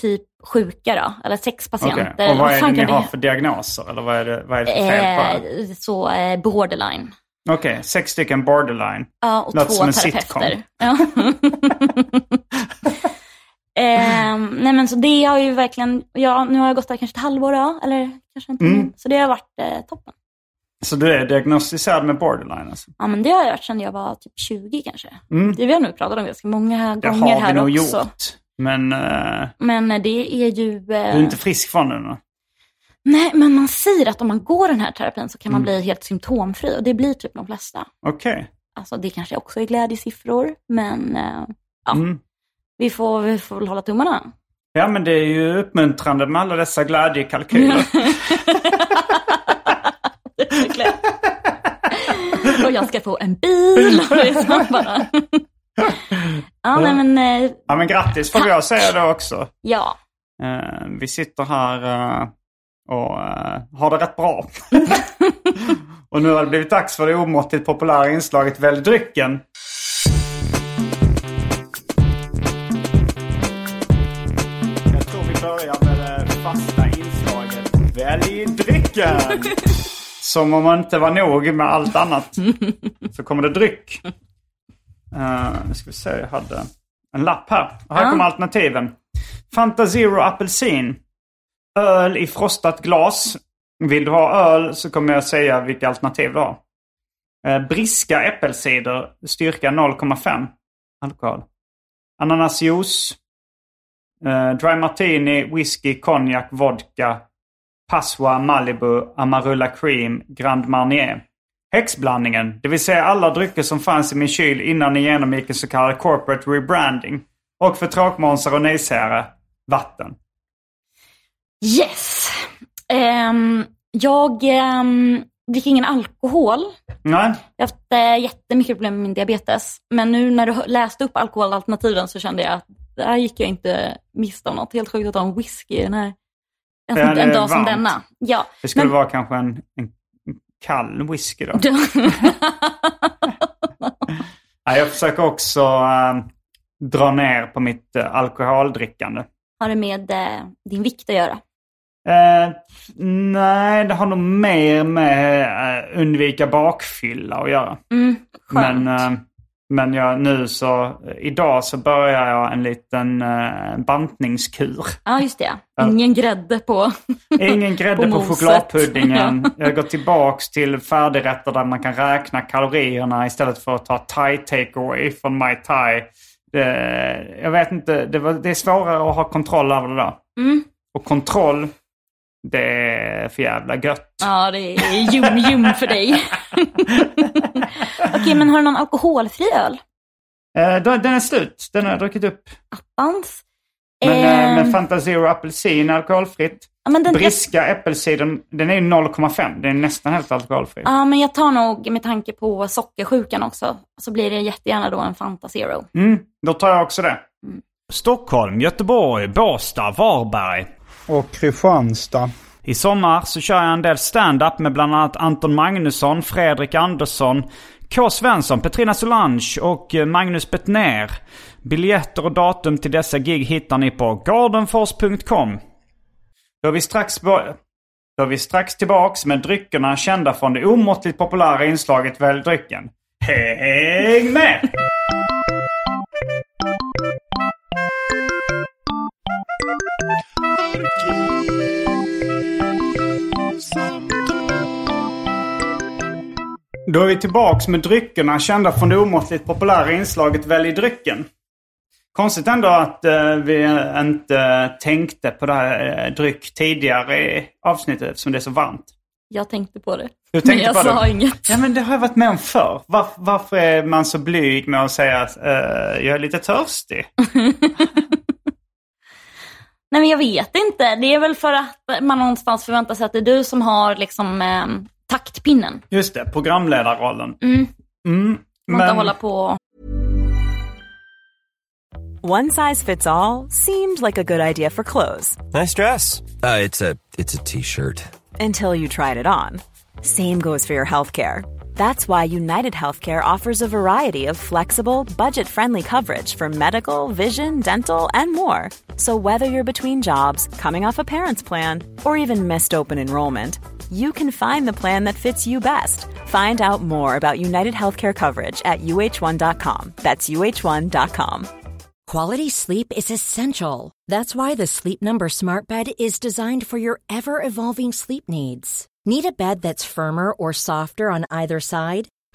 typ sjuka då, eller sex patienter.
Okej. Och vad är det
fan
ni
kan
har för diagnoser? Eller vad är det, vad är det för fel på det?
eh, Så eh, borderline.
Okej, sex stycken borderline.
Ja, och
Låter
två
som en
terapeuter. Ja. Ehm, nej men så det har ju verkligen, ja, nu har jag gått där kanske ett halvår då, eller kanske inte,
Mm.
men- så det har varit eh, toppen.
Så du är diagnostiserad med borderline alltså?
Ja men det har jag varit sedan jag var typ 20 kanske.
Mm.
Det vi har nu pratat om ganska många
Det
gånger
har vi
här
nog
också.
gjort. Men eh,
Men eh, det är ju...
du
eh,
är inte frisk från den? va?
Nej, men man säger att om man går den här terapin så kan man bli helt symptomfri och det blir typ de flesta.
Okej.
Alltså det kanske också är glädjesiffror, men eh, Ja.
Mm.
vi, får, vi får väl hålla tummarna.
Ja men det är ju uppmuntrande med alla dessa glädjekalkyler.
Verkligen. och jag ska få en bil. Och det är så bara. ja, nej men eh,
ja men grattis får jag säga det också.
ja.
Eh, vi sitter här eh, och eh, har det rätt bra. och nu har det blivit dags för det omåttligt populära inslaget Välj drycken. Jag tror vi börjar med det fasta inslaget Välj drycken. Som om man inte var nog med allt annat så kommer det dryck. Eh, nu ska vi se, jag hade en lapp här. Och här kommer alternativen. Fanta Zero apelsin. Öl i frostat glas. Vill du ha öl så kommer jag säga vilka alternativ du har. Eh, Briska äppelcider, styrka 0,5 alkohol. Ananasjuice. Eh, dry martini, whisky, konjak, vodka. Passoa, Malibu, Amarula Cream, Grand Marnier. Häxblandningen, det vill säga alla drycker som fanns i min kyl innan ni genomgick en så kallad corporate rebranding. Och för tråkmånsar och nejsägare, vatten.
Yes. Ehm, jag ehm, dricker ingen alkohol.
Nej,
Jag har haft eh, jättemycket problem med min diabetes. Men nu när du hö- läste upp alkoholalternativen så kände jag att där gick jag inte miste om något. Helt sjukt att ha en whisky i den här. En,
Ja, det
en
är
dag som
varmt.
denna. Ja.
det skulle
Men-
vara kanske en, en kall whisky då. Nej, jag försöker också eh, dra ner på mitt eh, alkoholdrickande.
Har det med eh, din vikt att göra?
Eh, nej, det har nog mer med eh, undvika bakfylla att göra.
Mm, skönt.
Men, eh, men jag, nu så, eh, idag så börjar jag en liten eh, bantningskur.
Ja, just det. Ingen grädde på.
Ingen grädde
På
på,
moset.
chokladpuddingen. Jag går tillbaks till färdigrätter där man kan räkna kalorierna istället för att ta thai takeaway från my thai. Det, jag vet inte, det, var, det är svårare att ha kontroll över det där.
Mm.
Och kontroll, det är för jävla gött.
Ja, det är ljum-ljum för dig. Okej, men har du någon alkoholfri öl?
Eh, då- den är slut, den har jag druckit upp.
Dans?
Men, eh,
Ehm,
men Fanta Zero apelsin är alkoholfritt.
ja, men den, jag,
Briska äppelcider, den är ju 0,5. Den är nästan helt alkoholfri.
ja, men jag tar nog, med tanke på sockersjukan också, så blir det jättegärna då en Fanta Zero.
Mm, då tar jag också det.
Stockholm, Göteborg, Båstad, Varberg.
Och Kristianstad.
I sommar så kör jag en del stand-up med bland annat Anton Magnusson, Fredrik Andersson, K. Svensson, Petrina Solange och eh, Magnus Bettner. Biljetter och datum till dessa gig hittar ni på gardenfors.com.
Då är vi strax, bo- då är vi strax tillbaks med dryckerna kända från det omåttligt populära inslaget Välj drycken. Häng med! Då är vi tillbaks med dryckerna kända från det omåttligt populära inslaget Välj drycken. Konstigt ändå att eh, vi inte tänkte på det här eh, dryck tidigare i avsnittet eftersom det är så varmt.
Jag tänkte på det.
Du
Men
tänkte
jag
på det?
sa inget.
Ja men det har jag varit med om förr. Var, varför är man så blyg med att säga att eh, jag är lite törstig?
Nej men jag vet inte. Det är väl för att man någonstans förväntar sig att det är du som har liksom ehm, taktpinnen.
Just det, programledarrollen.
Mm.
Mm,
Man kan hålla på.
One size fits all seemed like a good idea for clothes
Nice dress. Uh, it's a it's a t-shirt.
until you tried it on. Same goes for your healthcare. That's why United Healthcare offers a variety of flexible, budget friendly coverage for medical, vision, dental, and more. So, whether you're between jobs, coming off a parent's plan, or even missed open enrollment, you can find the plan that fits you best. Find out more about United Healthcare coverage at uh1.com. That's uh1.com.
Quality sleep is essential. That's why the Sleep Number Smart Bed is designed for your ever evolving sleep needs. Need a bed that's firmer or softer on either side?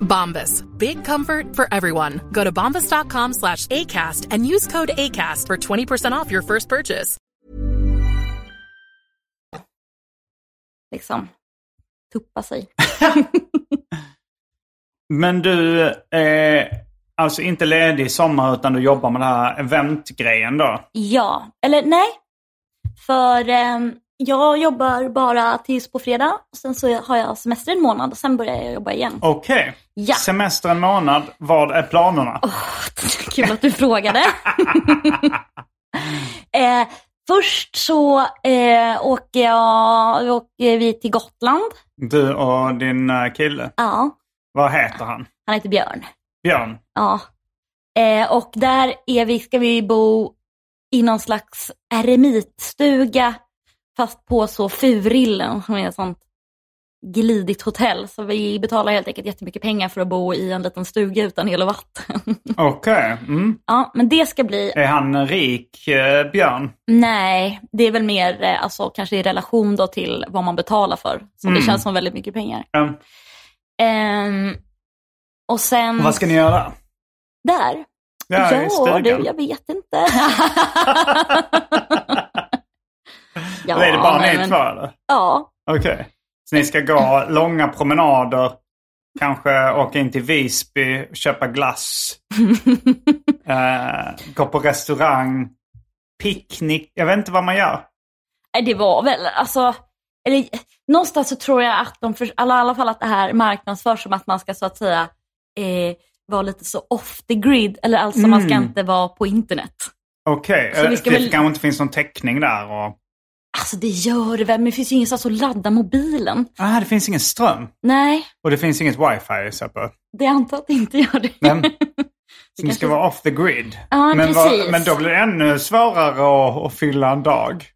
Bombas. Big comfort for everyone. Go to bombas.com slash ACAST and use code ACAST for 20% off your first purchase.
Liksom, tuppa sig.
Men du är alltså inte ledig i sommar utan du jobbar med den här eventgrejen då?
Ja, eller nej. För ehm, jag jobbar bara tills på fredag. Och sen så har jag semester en månad och sen börjar jag jobba igen.
Okej.
Ja.
Semester en månad. Vad är planerna?
Kul att du frågade. eh, först så eh, åker, jag, åker vi till Gotland.
Du och din eh, kille.
Ja,
Vad heter han?
han heter Björn.
Björn?
Ja. Eh, och där är vi, ska vi bo i någon slags eremitstuga, fast på så Furillen som är ett sånt glidigt hotell. Så vi betalar helt enkelt jättemycket pengar för att bo i en liten stuga utan el och vatten.
Okej. Mm.
ja, men det ska bli
Är han rik, eh, Björn?
Nej, det är väl mer eh, alltså, kanske i relation då till vad man betalar för. Så det känns som väldigt mycket pengar.
Mm.
Ehm, och sen
Vad ska ni göra?
där.
Ja, i stugan.
du, jag vet inte. ja,
är det bara ni
men-
två eller?
Ja,
Okej. Så ni ska gå långa promenader, kanske åka in till Visby, köpa glass, eh, gå på restaurang, picknick. Jag vet inte vad man gör.
Nej, det var väl alltså... Eller, någonstans så tror jag att de, för, alla, i alla fall att det här marknadsförs som att man ska så att säga eh, vara lite så off the grid. Eller alltså man ska
Mm.
inte vara på internet.
Okej,
Så
eh,
vi ska
det
väl-
kanske inte finns någon täckning där. Och...
Alltså det gör det väl, men det finns ju ingenstans att ladda mobilen.
Ah, det finns ingen ström.
Nej,
Och det finns inget wifi så på.
det antar att det inte gör det.
Men, så ni ska vara off the grid.
Ja,
men, vad-
precis.
men då blir det ännu svårare att, att fylla en dag.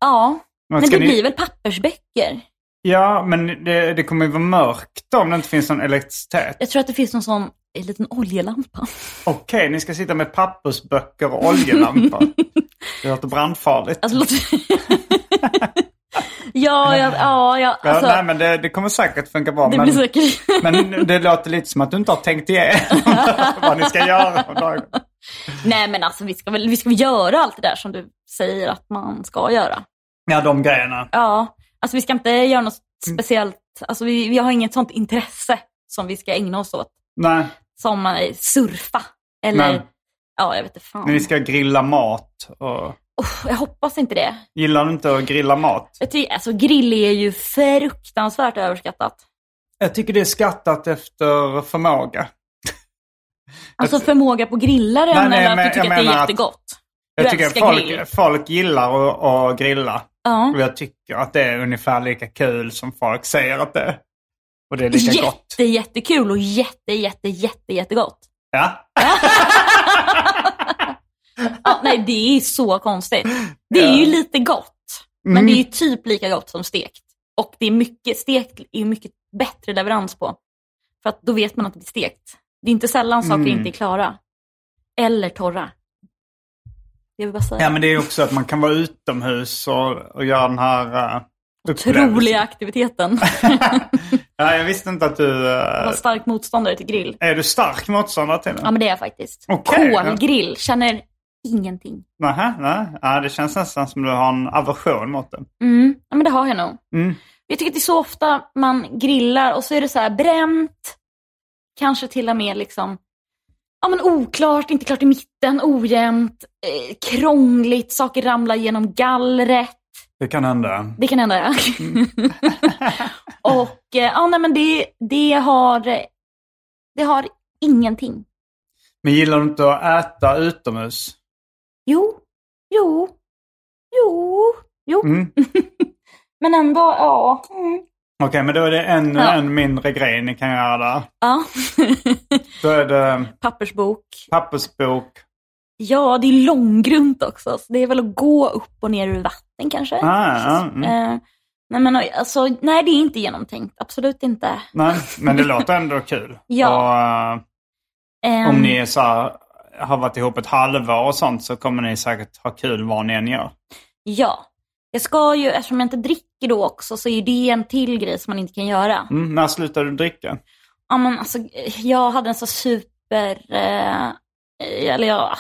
Ja, men,
ska
det
ni-
blir väl pappersböcker?
Ja, men det, det kommer ju vara mörkt då, om det inte finns någon elektricitet.
Jag tror att det finns någon sån en liten oljelampa.
Okej, ni ska sitta med pappersböcker och oljelampor. Det låter brandfarligt.
Alltså, låt... ja, ja, ja, ja,
Ja,
alltså,
nej, men det, det kommer säkert funka bra.
det
men,
blir säkert...
men det låter lite som att du inte har tänkt igenom vad ni ska göra. på dagen.
Nej, men alltså vi ska, väl, vi ska väl göra allt det där som du säger att man ska göra.
Ja, de grejerna.
Ja, alltså vi ska inte göra något
Mm.
speciellt, alltså vi, vi har inget sånt intresse som vi ska ägna oss åt.
Nej,
Som eh, surfa eller,
Nej.
ja jag vet inte fan.
men ni ska grilla mat och...
Oh, jag hoppas inte det.
Gillar du inte att grilla mat?
Jag tycker, alltså grill är ju fruktansvärt överskattat.
Jag tycker det är skattat efter förmåga.
Alltså förmåga på grillaren
Nej, nej,
eller
men
att du tycker
jag
att det är
menar att-
jättegott.
Jag
Du
tycker
älskar grill.
folk, folk gillar att, att grilla.
Ja.
Och jag tycker att det är ungefär lika kul som folk säger att det är. Och det är lika gott.
Jätte, jättekul och jätte, jätte, jätte, jättegott.
Ja.
Ja, nej, det är så konstigt. Det är ju lite gott, men
Mm.
det är ju typ lika gott som stekt. Och det är mycket, stekt är ju mycket bättre leverans på. För att då vet man att det blir stekt. Det är inte sällan saker
Mm.
inte är klara. Eller torra. Det vill jag bara säga.
ja, men det är också att man kan vara utomhus och, och göra den här uh,
Otroliga aktiviteten.
Ja, jag visste inte att du...
Jag var
eh,
stark motståndare till grill.
är du stark motståndare till den?
Ja, men det är jag faktiskt.
Okej.
Kolgrill, känner ingenting.
Nähä, nej. Ja, det känns nästan som du har en aversion mot den.
Mm, ja, men det har jag nog.
Mm.
Jag tycker att det är så ofta man grillar och så är det så här bränt, kanske till och med liksom, ja men oklart, inte klart i mitten, ojämnt, eh, krångligt, saker ramlar genom gallret.
Det kan hända.
Det kan hända ja.
Mm.
och eh, ja, nej men det, det har, det har ingenting.
Men gillar du inte att äta utomhus?
Jo, jo, jo, jo.
Mm.
Men ändå, ja. Mm.
Okej, men då är det ännu
Ja.
en mindre grej ni kan göra där.
ja.
Då är det
Pappersbok,
pappersbok.
Ja, det är långgrunt också. Så det är väl att gå upp och ner ur vatten kanske.
Ah, ja, mm.
Eh, nej, men oj, alltså, nej, det är inte genomtänkt. Absolut inte.
Nej, men det låter ändå kul.
Ja.
Och,
Eh,
eh, om ni är så här, har varit ihop ett halvår och sånt så kommer ni säkert ha kul vad ni än gör.
Ja. Jag ska ju, eftersom jag inte dricker då också, så är ju det en till grej som man inte kan göra.
Mm, när slutar du dricka?
Ja, men alltså, jag hade en så super... Eh, eller jag,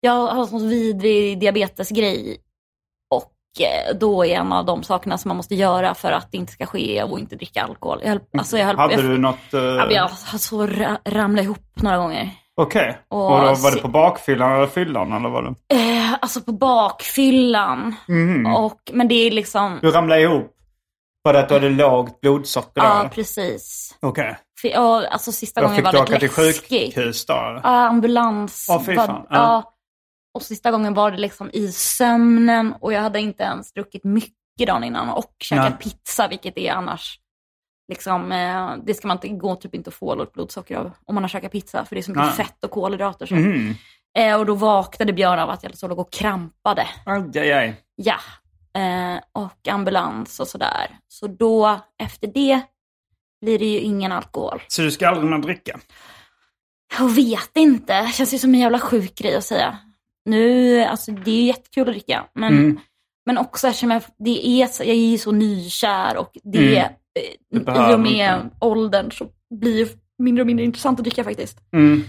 jag har en sån vidrig diabetesgrej. Och eh, då är en av de sakerna som man måste göra för att det inte ska ske och inte dricka alkohol. Jag höll, alltså, jag höll,
Mm. Hade
jag,
du något... Eh,
Ja, men
Okej.
jag har så ra- ramlat ihop några gånger.
Och då, var det på bakfyllan eller fyllan eller vad det?
Eh, alltså på bakfyllan.
Mhm.
Och, men det är liksom...
Du ramlade ihop? För att du hade lågt blodsocker då?
Ja,
eller?
precis.
Okej.
För, ja, alltså sista
Då
gången
fick
var
du
det
åka till
läskigt.
sjukhus då? eller?
Ja, Ah, ambulans.
Åh, fy fan.
Var,
Ja.
ja. Och sista gången var det liksom i sömnen och jag hade inte ens druckit mycket dagen innan och käkat
Nej.
pizza, vilket är annars liksom, eh, det ska man inte gå typ inte att få lågt blodsocker av om man har käkat pizza, för det är så mycket
Nej.
fett och kolhydrater. Så.
Mm.
Eh, och då vaknade Björn av att jag så låg och krampade.
Aj, aj, aj.
Ja. Eh, och ambulans och sådär. Så då, efter det, blir det ju ingen alkohol.
Så du ska aldrig mer dricka?
Jag vet inte. Det känns ju som en jävla sjuk grej att säga. Nu, alltså det är ju jättekul att dricka. Men,
Mm.
men också eftersom jag, det är, så- jag är ju så nykär och det,
Mm.
eh, i
behöver
och med åldern så blir det mindre och mindre intressant att dricka faktiskt.
Mm.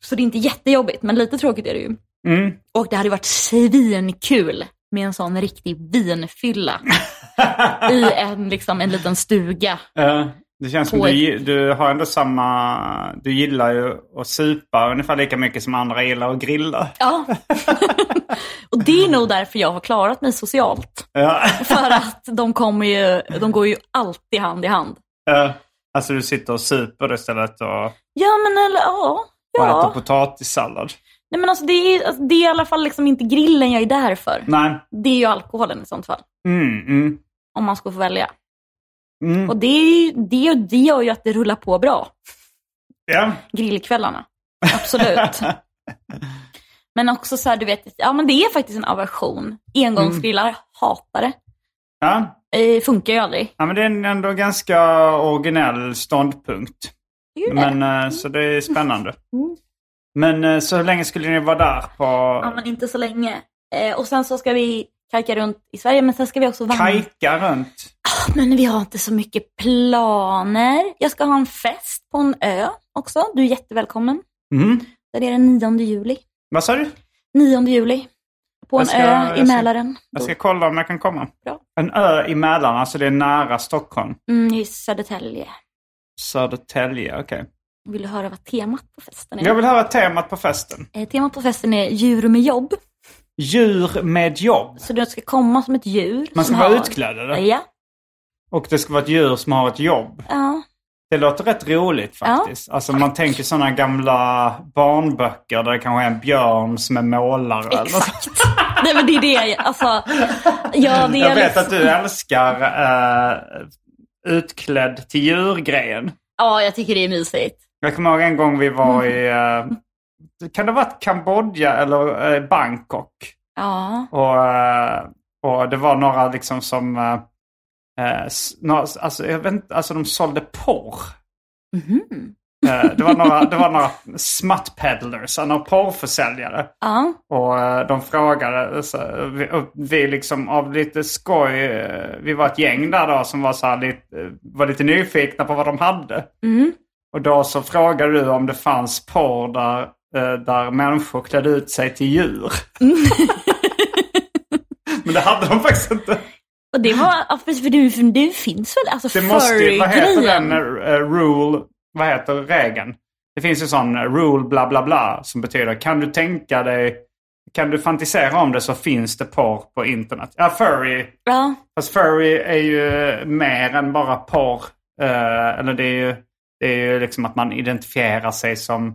Så det är inte jättejobbigt, men lite tråkigt är det ju.
Mm.
Och det hade varit svinkul med en sån riktig vinfylla i en, liksom, en liten stuga.
Eh, det känns som
På
du, du har ändå samma... Du gillar ju att supa ungefär lika mycket som andra gillar att grilla.
Ja. och det är nog därför jag har klarat mig socialt.
Ja.
För att de, kommer ju, de går ju alltid hand i hand.
Eh, alltså du sitter och super istället och, och
Ja, men eller ja.
äter
ja.
potatissallad.
Nej, men alltså, det, är, alltså, det är i alla fall liksom inte grillen jag är där för.
Nej.
Det är ju alkoholen i sånt fall.
Mm, mm,
Om man ska få välja.
mm.
Och det, är ju- det, det gör ju att det rullar på bra.
Ja.
grillkvällarna. Absolut. men också så här, du vet, ja men det är faktiskt en aversion. Engångsgrillar, hatar det.
Ja.
Eh, funkar ju aldrig.
ja, men det är ändå ganska originell ståndpunkt.
Det är ju det. Mm.
Men, eh, så det är spännande. Men eh, så hur länge skulle ni vara där på
Ja men inte så länge. Eh, och sen så ska vi kajka runt i Sverige, men sen ska vi också vandra.
kajka runt?
Men vi har inte så mycket planer. Jag ska ha en fest på en ö också. Du är jättevälkommen.
Mm.
Det är den 9 juli.
Vad sa du?
9 juli. På en
Jag ska-
ö i
jag ska-
Mälaren.
Jag ska kolla om jag kan komma.
Bra.
En ö i Mälaren, alltså det är nära Stockholm.
Mm, I Södertälje.
Södertälje, okej.
Vill du höra vad temat på festen är?
Jag vill höra temat på festen.
Eh, temat på festen är djur med jobb.
djur med jobb.
Så du ska komma som ett djur.
Man ska
som
vara
har-
utklädd eller?
Ja.
Och det ska vara ett djur som har ett jobb.
ja.
Det låter rätt roligt faktiskt. Alltså man tänker sådana gamla barnböcker där det kanske är en björn som är målare. eller något sånt.
Exakt. Nej men det är det, jag- alltså. Ja, det är
Jag vet
liksom-
att du älskar eh, utklädd till djurgrejen.
Ja, jag tycker det är mysigt.
Jag kommer ihåg en gång vi var
Mm.
i, eh, kan det ha varit Kambodja eller eh, Bangkok?
Ja.
Och, eh, och det var några liksom som, eh, eh, s- några, alltså, jag vet inte, alltså de sålde porr. Eh, Det var några, det var några smutt peddlers, några porrförsäljare.
Ja.
Och eh, de frågade, så, vi, och vi liksom av lite skoj, eh, vi var ett gäng där då som var, så här lite, eh, var lite nyfikna på vad de hade. Och då så frågade du om det fanns porr där, eh, där människor klädde ut sig till djur. Men det hade de faktiskt inte.
Och det var, ja, precis, för du, för du finns väl, alltså
Det måste ju, vad heter den
furry-grejen?
eh, rule, vad heter regeln? Det finns ju sån eh, rule bla bla bla som betyder kan du tänka dig, kan du fantisera om det så finns det porr på internet. Ja, furry.
Ja.
Fast furry är ju eh, mer än bara porr. Eh, eller det är ju, det är ju liksom att man identifierar sig som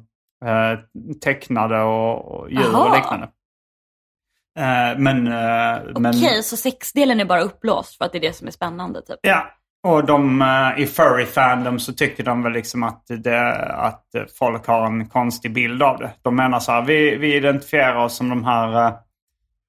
eh, tecknade och, och djur och
Aha.
liknande. Eh, men... eh, men...
Okej, så sexdelen är bara uppblåst för att det är det som är spännande typ.
Ja, och de eh, i furry fandom så tycker de väl liksom att, det, att folk har en konstig bild av det. De menar så här, vi, vi identifierar oss som de här, eh,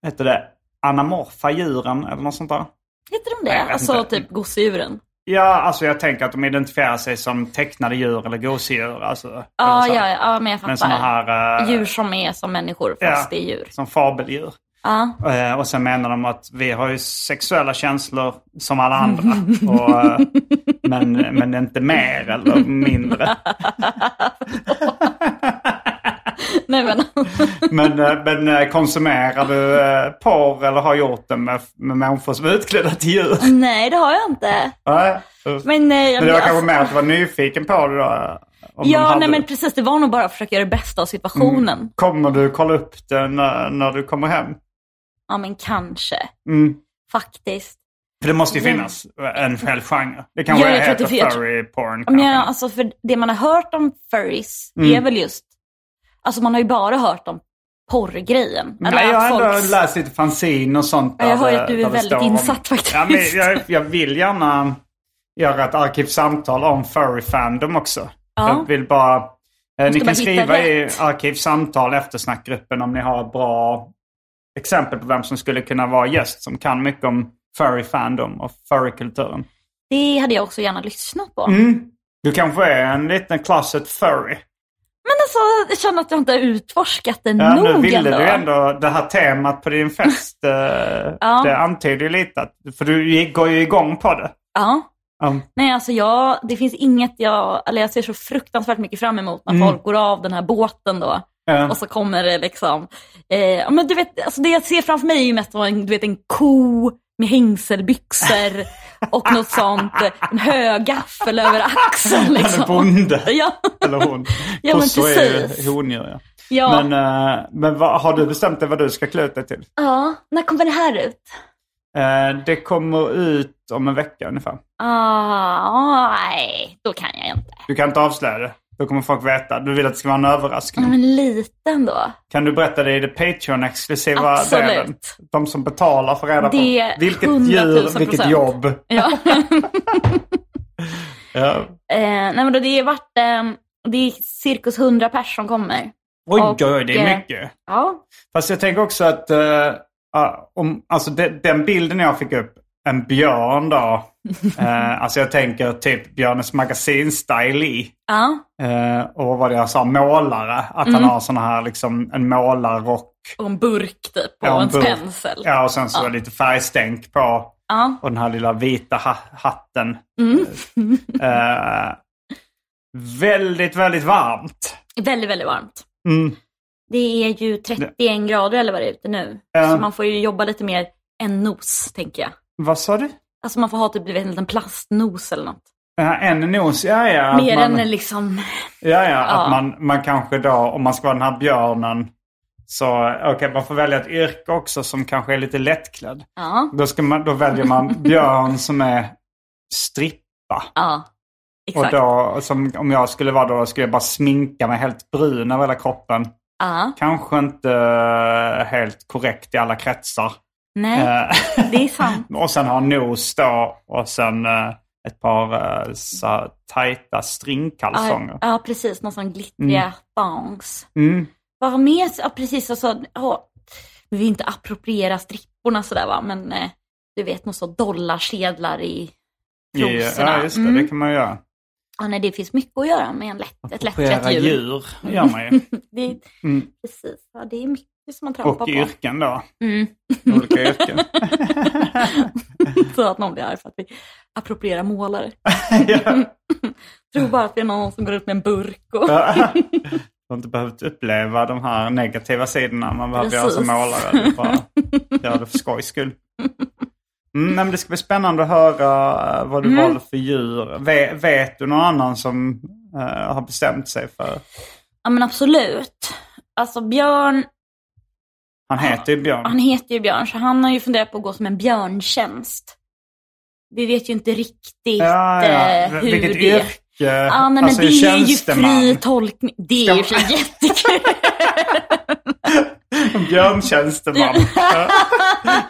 heter det, anamorfa djuren eller något sånt där.
Heter de
Nej,
det?
jag vet
Alltså
inte.
typ gosedjuren?
Ja, alltså jag tänker att de identifierar sig som tecknade djur eller gosedjur. Alltså, eller
Ja,
så.
ja, ja, men jag
Men såna
fattar.
här... eh,
Djur som är som människor,
ja,
fast det är djur.
Som fabeldjur.
Ja.
Eh, Och sen menar de att vi har ju sexuella känslor som alla andra. Och, eh, men, men inte mer eller mindre.
Nej men,
Men, eh, men eh, konsumerar du eh, porr eller har gjort det med, med människor som är utklädda till djur?
nej det har jag inte.
Nej.
Men, nej, jag
men det var
blir-
kanske mer att du var nyfiken på det då? eh, Om de
Ja,
hade Mm.
nej men
det.
precis. Det var nog bara att försöka göra det bästa av situationen.
Kommer du kolla upp det när, när du kommer hem?
Ja, men kanske.
Mm.
Faktiskt.
För det måste ju finnas en själv genre. Det
Ja,
kanske
jag tror att
heter
det fin- jag tror-
furry porn.
Men
kanske.
jag, alltså, för det man har hört om furries
Mm.
är väl just... Alltså man har ju bara hört om porrgrejen. Eller
Nej, jag
att
har ändå
folk-
läst lite fanzine och sånt.
Ja, jag hör
det-
ju att du är
där det
väldigt
står om-
insatt faktiskt.
Ja, men jag, jag vill gärna göra ett arkivsamtal om furry fandom också.
Ja.
Jag vill bara... Eh, ni
bara
kan skriva
hitta
i
rätt.
arkivsamtal eftersnackgruppen om ni har bra exempel på vem som skulle kunna vara gäst som kan mycket om furry fandom och furrykulturen.
Det hade jag också gärna lyssnat på.
Mm. Du kanske är en liten closet furry.
Men alltså, jag känner att jag inte har utforskat det
Ja,
nog
nu ville
ändå.
du ändå det här temat på din fest. eh, Det antyder ju lite att, för du gick- går ju igång på det.
Ja.
Ja.
Nej, alltså jag, det finns inget jag, eller jag ser så fruktansvärt mycket fram emot när folk går av den här båten då.
Mm. Ja.
Och så kommer det liksom, eh, ja, men du vet, alltså det jag ser framför mig är ju mest vad en, du vet, en ko med hängselbyxor och något sånt, en högaffel över axeln
Han är
liksom.
bonde.
Ja,
Eller hon.
Ja, men
Kossor är ju
precis.
hondjur, ja.
ja.
Men, eh, men vad, har du bestämt dig vad du ska klä ut dig till?
ja. När kommer det här ut?
Eh, det kommer ut om en vecka ungefär.
Ah, nej, då kan jag inte.
Du kan inte avslöja det. Då kommer folk veta. Du vill att det ska vara en överraskning.
Men liten då.
Kan du berätta det i det Patreon-exklusiva
Absolut.
delen? De som betalar får reda på
Det är
vilket
100 000
djur, vilket jobb.
Ja.
Ja.
Eh, nej men då det är vart, eh, det är cirkus 100 pers som kommer.
Oj,
Och,
oj, det är
eh,
mycket.
Ja.
Fast jag tänker också att eh, ah, om, alltså de, den bilden jag fick upp, en björn då. eh, alltså jag tänker typ Björnes magasin-style i.
Ja.
Eh, och vad var det jag sa, målare. Att han har sån här liksom en målarrock.
Och en burk typ och
Ja, en
en
burk.
pensel.
Ja, och sen så lite färgstänk på.
Ja.
Och den här lilla vita ha- hatten. Eh, väldigt, väldigt varmt.
Väldigt, väldigt varmt.
Mm.
Det är ju 31 grader eller vad det är ute nu.
Ja.
Så man får ju jobba lite mer än nos, tänker jag.
Vad sa du?
Alltså man får ha typ du vet, en liten plastnos eller något.
Eh, en nos, ja ja. att
mer
man-
än liksom,
Ja, ja,
Ja.
att man, man kanske då, om man ska vara den här björnen, Så okej, man får välja ett yrke också som kanske är lite lättklädd.
Ja.
Då, ska man, då väljer man Björn som är strippa.
Ja,
Och
exakt.
då, som, om jag skulle vara då, skulle jag bara sminka mig helt brun över hela kroppen.
Ja.
Kanske inte eh, helt korrekt i alla kretsar. Eh,
Nej, det är sant.
Och sen ha nos då och sen eh, ett par eh, så här tajta stringkalsonger.
Ja, ja, precis. Någon sån glittriga thongs.
Mm.
Bara mer, ja precis, alltså, ja, vi vill inte appropriera stripporna sådär va, men eh, du vet någon sån dollarsedlar i
I-
trosorna.
Ja, just det.
Mm.
Det kan man göra.
Ja, nej, det finns mycket att göra med en lätt, ett lättklätt
Appropriera
djur.
djur gör man ju.
Det, är-
Mm.
Precis, ja, det är mycket som man trampar
Och i
på.
yrken då.
Mm.
Olika yrken.
Så att någon blir arg för att vi approprierar målare.
ja.
Tror bara att det är någon som går ut med en burk och...
Du har inte behövt uppleva de här negativa sidorna man behöver göra som
Precis.
målare. Du bara gör det för skojs skull. Mm, nej, men det ska bli spännande att höra eh, vad
Mm.
du valde för djur. Vet, vet du någon annan som eh, har bestämt sig för...
Ja men absolut. Alltså Björn,
Han heter ju Björn.
han heter ju Björn så han har ju funderat på att gå som en björntjänst. Vi vet ju inte riktigt
Ja, ja.
eh,
Vil-
hur
Vilket
det är.
yrke. Alltså, Ja,
Ja, nej, men det är ju fri tolkning. Det är ju
Ska
för jättekul.
Björn tjänsteman. Ja.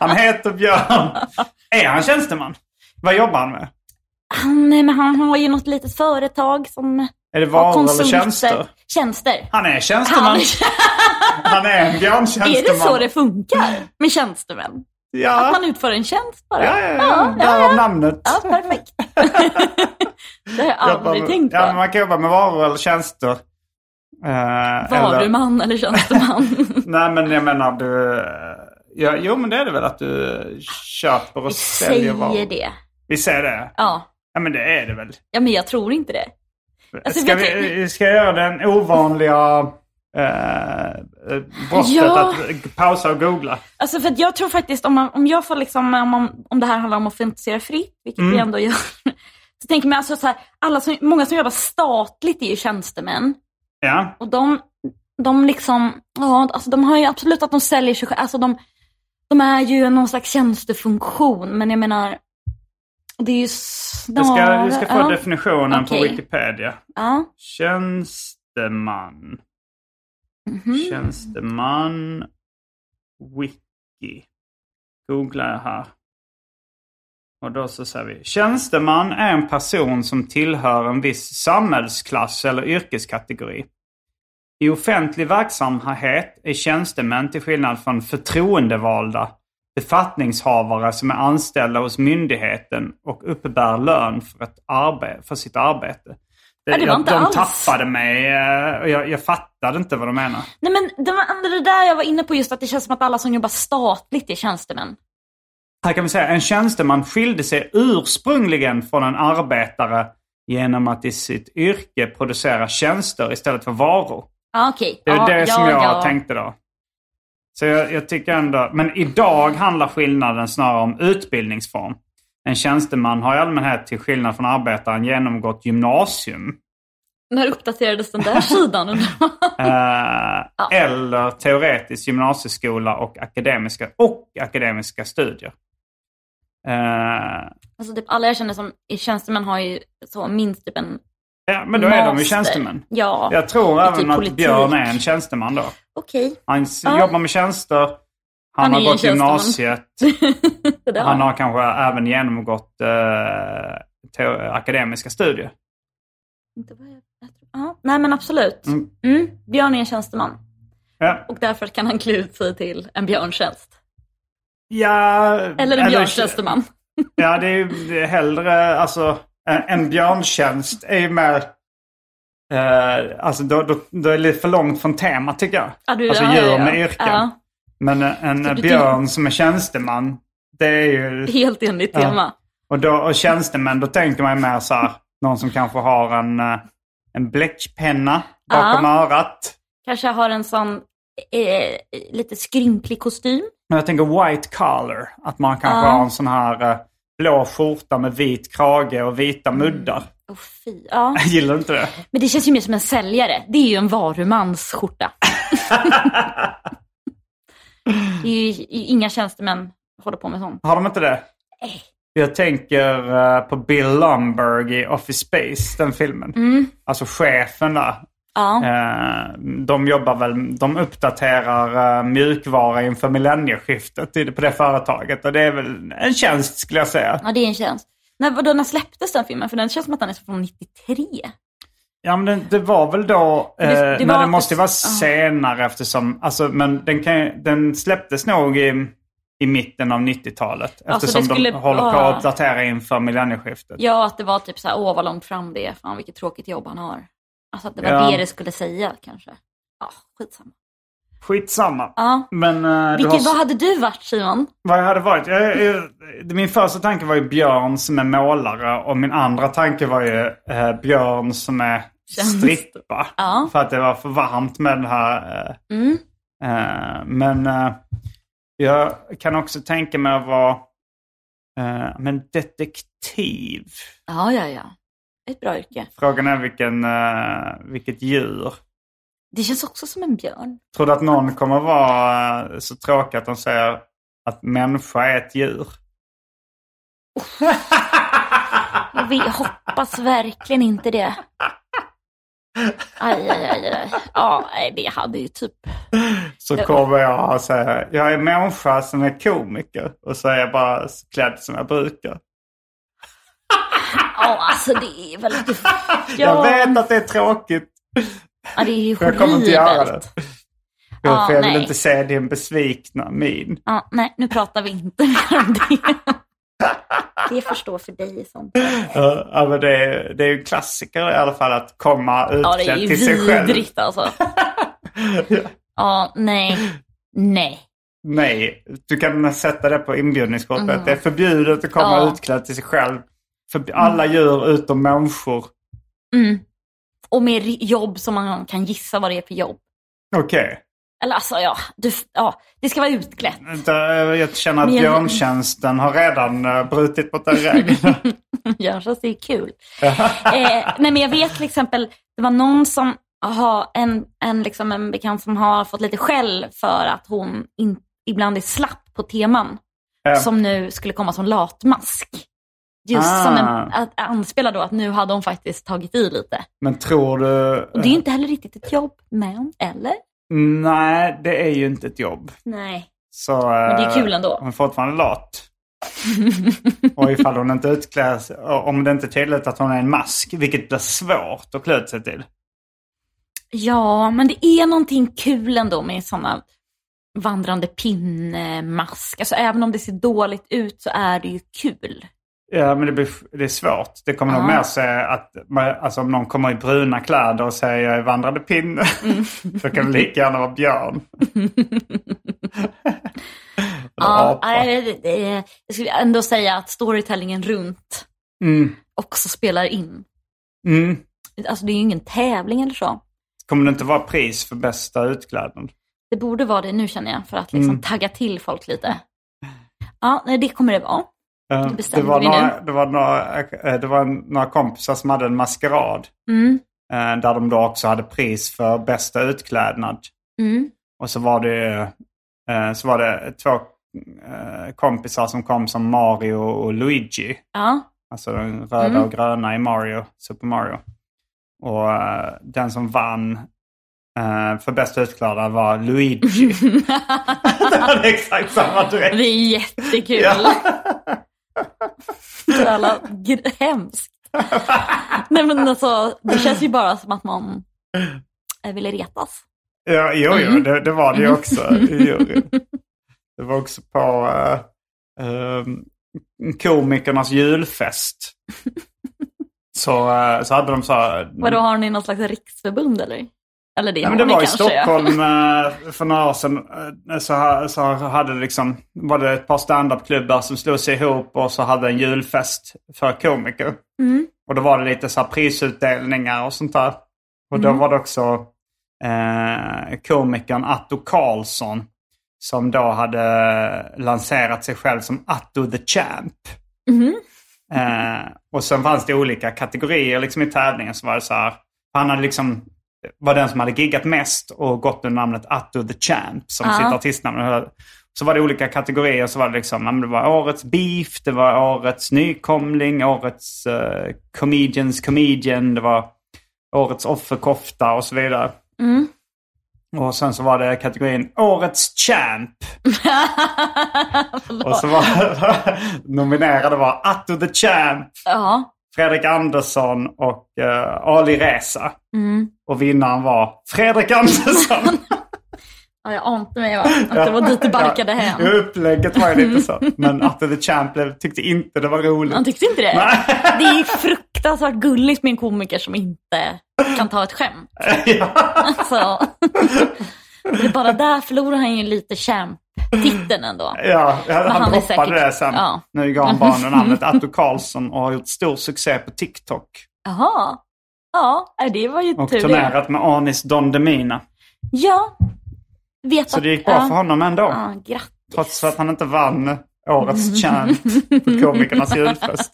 han heter Björn. Är han tjänsteman? Vad jobbar han med?
Han, men han har ju något litet företag som
Är det
har
varor eller
konsulter.
tjänster?
Tjänster.
Han är tjänsteman.
Han,
Han, är en björntjänsteman.
är det så det funkar med tjänstemän? Att
Mm. Ja,
man utför en tjänst bara?
ja, ja, ja. därav namnet.
Ja, perfekt. det har jag
Jobbar
aldrig
med-
tänkt på.
ja, men man kan jobba med varor eller tjänster. Uh,
Varuman eller tjänsteman.
Nej, men jag menar du... eh, Ja, jo, men det är det väl att du köper och säljer varor.
Säger det.
Vi säger det.
Ja.
Ja, men det är det väl.
ja, men jag tror inte det. Alltså,
ska,
vet du-
vi, ska jag göra den ovanliga eh, eh, brottet
Ja.
att pausa och googla?
Alltså för att jag tror faktiskt om, man, om jag får liksom, om, man, om det här handlar om att fantisera fritt, vilket
Mm.
vi ändå gör. Så tänker man alltså så här, alla som, många som jobbar statligt är ju tjänstemän.
Ja.
Och de, de liksom, ja alltså de har ju absolut att de säljer sig själva. Alltså de, de är ju någon slags tjänstefunktion, men jag menar, det är ju snarare...
Vi ska, vi ska få
ja,
definitionen på
Okej.
Wikipedia.
ja.
Tjänsteman.
Mhm.
Tjänsteman. Wiki. Googlar jag här. Och då så säger vi. Tjänsteman är en person som tillhör en viss samhällsklass eller yrkeskategori. I offentlig verksamhet är tjänstemän till skillnad från förtroendevalda befattningshavare som är anställda hos myndigheten och uppbär lön för, ett arbe- för sitt arbete.
det var
jag,
inte
de
alls.
tappade mig eh, och jag, jag fattade inte vad de menar.
Nej men det var det där jag var inne på just att det känns som att alla som jobbar statligt är tjänstemän.
Här kan vi säga en tjänsteman skilde sig ursprungligen från en arbetare genom att i sitt yrke producera tjänster istället för varor.
Ja okej.
Det är
ja,
det
ja,
som jag
ja.
tänkte då. Så jag, jag tycker ändå... Men idag handlar skillnaden snarare om utbildningsform. En tjänsteman har i allmänhet till skillnad från arbetaren genomgått gymnasium.
När uppdaterades den där sidan? undrar jag?
Eh, Eller teoretisk gymnasieskola och akademiska, och akademiska studier. Eh,
alltså typ alla jag känner som är tjänstemän har ju så minst typ en
ja, men då är de ju
master.
tjänstemän.
Ja,
Jag tror
i typ
även att
politik.
Björn är en tjänsteman då.
okej.
Han s-
Ja.
jobbar med tjänster, han,
Han är
har
en
gått
tjänsteman.
gymnasiet.
Det där.
Han har kanske även genomgått eh, teo- akademiska studier.
Inte vad jag- jag tror- Ja, nej men absolut.
Mm.
Mm. Björn är en tjänsteman
Ja,
och därför kan han klä ut sig till en björntjänst.
ja
Eller en björntjänsteman.
Ja, det är ju hellre, alltså en, en björntjänst är ju mer, eh, alltså då, då, då är det lite för långt från temat tycker jag.
Ja, du-
alltså
ja, ja,
djur
ja.
med yrken.
Ja.
Men en,
Så
en
du-
björn som är tjänsteman, det är ju
Helt enligt
Ja.
tema.
Och, då, och tjänstemän, då tänker man ju mer så här, någon som kanske har en, eh, en bläckpenna bakom örat.
Kanske har en sån eh, lite skrynklig kostym.
Men jag tänker white collar, att man kanske
Ja.
har en sån här eh, blå skjorta med vit krage och vita muddar.
Oh, fy. Ja.
Jag gillar inte det.
Men det känns ju mer som en säljare. Det är ju en varumans skjorta. Det är ju, inga tjänstemän håller på med sånt.
Har de inte det?
Eh.
Jag tänker eh, på Bill Lumberg i Office Space, den filmen. Alltså chefen där.
Mm. Ja.
Eh, De jobbar väl, de uppdaterar eh, mjukvara inför millennieskiftet i- på det företaget. Och det är väl en tjänst skulle jag säga.
ja, det är en tjänst. När, vadå, när släpptes den filmen? För den känns som att den är från 93.
Ja men det, det var väl då, eh,
det- det
men
var-
det måste ju vara
ja.
senare eftersom, alltså men den, kan, ju- den släpptes nog i, i mitten av 90-talet.
så det
Eftersom
skulle-
de håller på
ah.
att uppdatera inför millennieskiftet.
Ja, att det var typ så här, åh vad långt fram det är, fan vilket tråkigt jobb han har. Alltså att det var
Ja.
det det skulle säga kanske. Ja, skitsamma.
Skitsamma.
Ja.
Men eh, du
Vilket,
har,
Vad hade du varit Simon?
vad jag hade varit? Jag, jag, min första tanke var ju Björn som är målare och min andra tanke var ju eh, Björn som är
Tjänst.
strippa.
Ja.
För att det var för varmt med den här. Eh,
Mm.
eh, men eh, jag kan också tänka mig att vara eh, men detektiv.
Ja, ja, ja. Ett bra yrke.
Frågan är vilken, eh, vilket djur.
Det känns också som en björn.
Tror du att någon kommer vara eh, så tråkig att de säger att människa är ett djur?
Jag vill, jag hoppas verkligen inte det. Aj, aj, aj, aj. Ja, nej, det hade ju typ...
Så kommer jag att säga, jag är människa som är komiker och så är jag bara klädd som jag brukar.
Ja, alltså det är väl...
Jag
Ja.
vet att det är tråkigt.
Ja, det är ju
Jag kommer inte göra det.
horribelt.
Jag,
Ja,
för jag vill
nej.
inte se din besvikna min.
Ja, nej, nu pratar vi inte mer om det. Det förstår för dig sånt.
Ja, ja, men det, är, det är ju en klassiker i alla fall att komma
Ja, det är
utklädd
ju
till sig själv.
vidrigt alltså. Ja, nej. Nej.
Nej, du kan sätta det på inbjudningskortet. Det är förbjudet att komma
Ja. Mm.
utklädd till sig själv. För alla djur utom människor.
Och med ri- jobb som man kan gissa vad det är för jobb.
Okej.
Eller alltså, ja, du, ja det ska vara utklätt.
Okay. Jag känner att
Men jag-
björntjänsten har redan eh, brutit mot den regeln.
Görs det är kul. eh, nej, men jag vet till exempel, det var någon som har en, en, liksom en bekant som har fått lite skäll för att hon in, ibland är slapp på teman.
Ja.
Som nu skulle komma som latmask. Just
Ah.
som en, att anspela då att nu hade hon faktiskt tagit i lite.
Men tror du... eh,
Och det är ju inte heller riktigt ett jobb, men, eller?
Nej, det är ju inte ett jobb.
Nej.
Så, eh,
det är kul ändå.
Hon är fortfarande lat. och ifall hon inte utkläs, om det inte är tydligt att hon är en mask, vilket blir svårt att klä ut sig till.
Ja, men det är någonting kul ändå med sådana vandrande pinnemask. Alltså även om det ser dåligt ut så är det ju kul.
Ja, men det, blir, det är svårt. Det kommer nog mer sig att man- alltså, om någon kommer i bruna kläder och säger jag är vandrande pinne,
Mm.
då kan det lika gärna vara björn. Eller
Ja,
apa.
nej, det- det- jag skulle ändå säga att storytellingen runt också spelar in.
Mm.
Alltså det är ju ingen tävling eller så.
Kommer det inte vara pris för bästa utklädnad?
Det borde vara det nu känner jag, för att liksom tagga till folk lite. Ja, nej, det kommer det vara.
Eh, Det
bestämmer
var,
vi
några,
nu.
det, var några, eh, det var några kompisar som hade en maskerad.
Mm,
Eh, Där de då också hade pris för bästa utklädnad.
Mm.
Och så var det, eh, så var det två eh, kompisar som kom som Mario och Luigi.
Ja,
Alltså den röda och gröna i Mario, Super Mario. Och eh, den som vann eh, för bästa utklädnad var Luigi. det hade exakt samma
det
dräkt.
är jättekul. Så jävla gr- hemskt. Nej men alltså, det känns ju bara som att man eh, ville retas.
Ja, jo, jo det, det var det ju också i juryn. Det var också på eh, ehm, komikernas julfest. Så, eh, så hade de så här...
Vadå, har ni någon slags riksförbund eller? Eller det
Nej,
har
men det
ni
var i
kanske.
Stockholm eh, för några år sedan. eh, Så, ha- så hade det liksom, var det ett par standupklubbar som slog sig ihop och så hade en julfest för komiker.
Mm.
Och då var det lite så här prisutdelningar och sånt där. Och
Mm.
då var det också eh, komikern Atto Karlsson som då hade eh, lanserat sig själv som Atto the Champ. Eh, och sen fanns det olika kategorier liksom i tävlingen. Så var det så här, han hade liksom var den som hade giggat mest och gått under namnet Atto the Champ som sitt artistnamn. Så var det olika kategorier. Så var det liksom, ja, men det var årets beef, det var årets nykomling, årets eh, comedians comedian, det var årets offerkofta och så vidare. Och sen så var det kategorin årets champ. och så var nominerade var Atto the Champ,
Ja.
Fredrik Andersson och eh, Ali Reza.
Mm.
Och vinnaren var Fredrik Andersson.
ja jag ante mig va? att det var dit det barkade hem.
Ja, upplägget var ju lite så. Men Atto the Champ blev- tyckte inte det var roligt.
Han tyckte inte det? Det är ju fruktansvärt gulligt med en komiker som inte kan ta ett skämt. Alltså, det är bara där förlorar han ju lite champ-titeln ändå.
Ja, han,
han är
droppade
säkert-
det sen.
ja.
Nu gav han barnen namnet Atto Karlsson och har gjort stor succé på TikTok.
Jaha. Ja, nej, det var ju
Och
tur det.
turnerat med Anis Don Demina.
Ja. Vet
Så
att-
det gick bra
ja.
för honom ändå.
Ja, grattis.
Trots att han inte vann årets champ på komikernas julfest.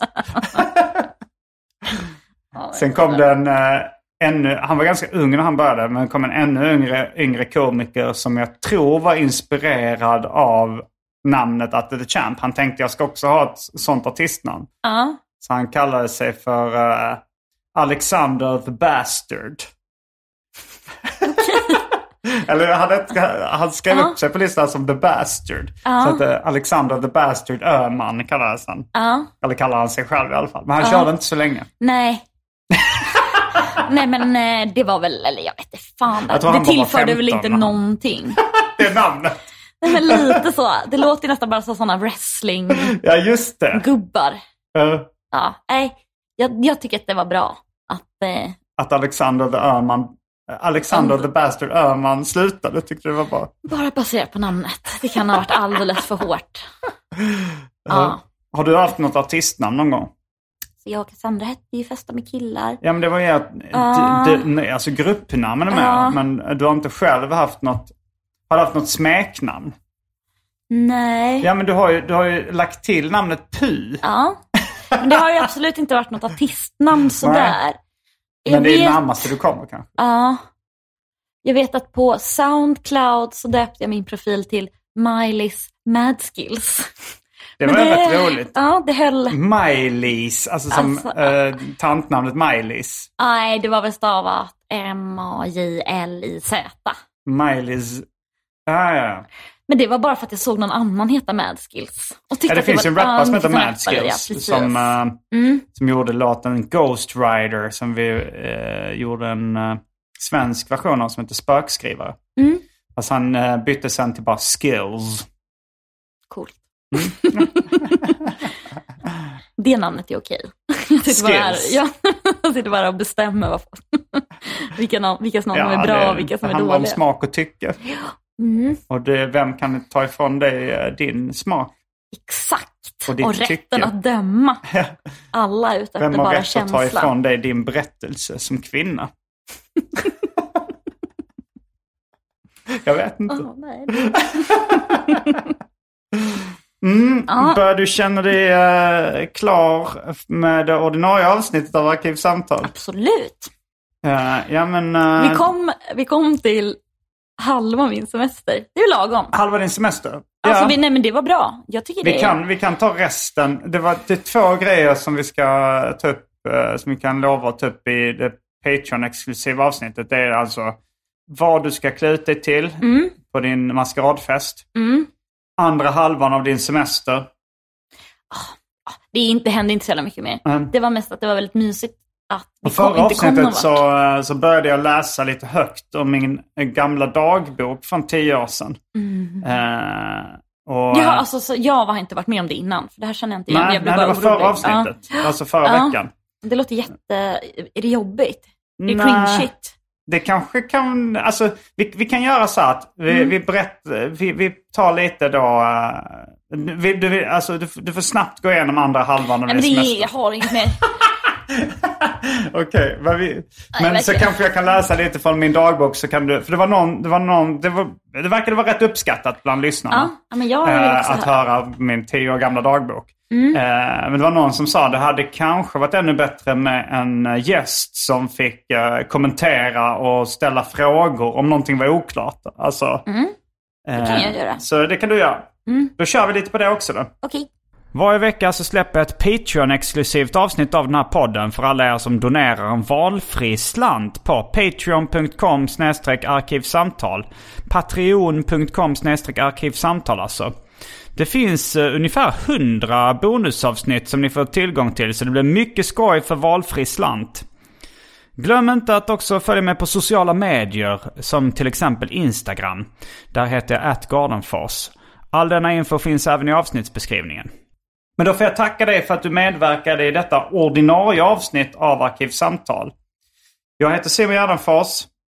Sen kom det en eh, ännu, han var ganska ung när han började, men det kom en ännu yngre, yngre komiker som jag tror var inspirerad av namnet Atte the Champ. Han tänkte jag ska också ha ett sånt artistnamn.
Ja.
Så han kallade sig för eh, Alexander the Bastard. Eller han, hette- han skrev upp sig på listan som The Bastard. Så att eh, Alexander the Bastard Öhman kallades han.
Ja.
Eller kallar han sig själv i alla fall. Men han körde inte så länge.
Nej. Nej men eh, det var väl, eller jag vet inte fan.
Jag tror han
Det
bara var
tillförde väl
15
inte
när han-
någonting.
Det är namnet.
Nej, men lite så. Det låter ju nästan bara som sådana wrestling-gubbar.
Ja, just det. Eh,
Ja, nej, jag, jag tycker att det var bra att... Eh,
att Alexander the Öhman, eh, Alexander
Mm.
the Bastard Öhman slutade tyckte det var bra. Eh,
bara baserat på namnet. Det kan ha varit alldeles för hårt. Ja.
Har du haft något artistnamn någon gång?
Så jag och Cassandra hette ju Festa med killar.
Ja men det var ju att,
Ah.
d- d- nej, alltså gruppnamn är med,
Ja.
men du har inte själv haft något, har du haft något smeknamn?
Nej.
Ja men du har ju, du har ju lagt till namnet Py.
Ja. Men det har ju absolut inte varit något artistnamn sådär. Jag
men det är det
vet-
närmaste du kommer kanske.
Ja. Jag vet att på Soundcloud så döpte jag min profil till Miley's Madskills.
Det var
Men
ju rätt roligt.
Ja, det höll.
Maj-Lis, alltså som
Alltså.
eh, tantnamnet Maj-Lis.
Nej, det var väl stavat M-A-J-L-I-Z.
Maj-Lis. Ah, ja.
Men det var bara för att jag såg någon annan heta Madskills. Och tyckte
ja, det
att
finns ju
var-
en rapper
ja,
som
det
heter
finns en rappare,
Madskills
ja, precis.
som, eh,
Mm.
som gjorde låten Ghost Rider som vi eh, gjorde en eh, svensk version av som heter Spökskrivare.
Mm.
Fast han eh, bytte sen till bara Skills.
Coolt.
Mm.
det namnet är okej. Jag sitter bara här,
Skills.
ja, jag sitter bara och bestämmer vad, vilka, nam- vilka som är bra och vilka som är
Det handlar om
dåliga.
smak och tycke.
Mm,
Och det, vem kan ta ifrån dig eh, din smak?
exakt.
Och
Och,
ditt
rätten
tycke.
att döma. Alla är ute
Vem
efter
har
bara
rätt att ta
känslan.
ifrån dig din berättelse som kvinna? Jag vet inte.
Åh, nej, det-
Mm.
Ja.
Bör du känna dig eh, klar med det ordinarie avsnittet av Arkivsamtal?
absolut.
Eh, ja, men, eh,
Vi kom, vi kom till halva min semester. Det är ju lagom.
Halva din semester?
Alltså,
ja.
vi, nej, men det var bra. Jag tycker
Vi
det.
kan, vi kan ta resten. Det, var, det är två grejer som vi ska ta upp, eh, som vi kan lova att ta upp i det Patreon-exklusiva avsnittet. Det är alltså vad du ska klä ut dig till
Mm.
på din maskeradfest. Andra halvan av din semester.
Det är inte, hände inte så jävla mycket mer.
Mm.
Det var mest att det var väldigt mysigt att vi
Och förra
kom, inte kom någon
avsnittet
vart.
så, eh, så började jag läsa lite högt om min eh, gamla dagbok från tio år sedan. Eh, och,
Ja, Mm. alltså, så jag har inte varit med om det innan, för det här känner jag inte igen.
nej,
jag blev
nej, det var
bara
förra
orolig.
avsnittet. Alltså förra
Ja.
veckan.
Ja, det låter jätte... Är det jobbigt? Är det
Nej.
cringe shit?
Det kanske kan, alltså vi, vi kan göra så att vi,
Mm.
vi, berätt, vi, vi tar lite då, eh, vi, du, vi- alltså, du, du får snabbt gå igenom andra halvan av
Nej, men
din
det
semester.
är, jag har inget mer.
Okej, vad vi, men så
verkligen.
kanske jag kan läsa lite från min dagbok så kan du, för det var någon, det var någon, det, var, det verkade vara rätt uppskattat bland lyssnarna.
Ja, ja, men jag vill
eh,
också Mm.
att
höra.
höra min tio år gamla dagbok.
Eh, men det var någon som sa det hade kanske varit ännu bättre med en eh, gäst som fick eh, kommentera och ställa frågor om någonting var oklart. Alltså,
Mm.
eh,
Det kan jag göra. Mm.
så det kan du göra. Då kör vi lite på det också då.
Okej.
Varje vecka så släpper jag ett Patreon-exklusivt avsnitt av den här podden för alla er som donerar en valfri slant på patreon.com arkivsamtal. Patreon.com arkivsamtal alltså. Det finns eh, ungefär 100 bonusavsnitt som ni får tillgång till så det blir mycket skoj för valfri slant. Glöm inte att också följa med på sociala medier som till exempel Instagram. Där heter jag atgardenfors. All denna info finns även i avsnittsbeskrivningen.
Men då får jag tacka dig för att du medverkade i detta ordinarie avsnitt av Arkivsamtal. Jag heter Simon Gärdenfors.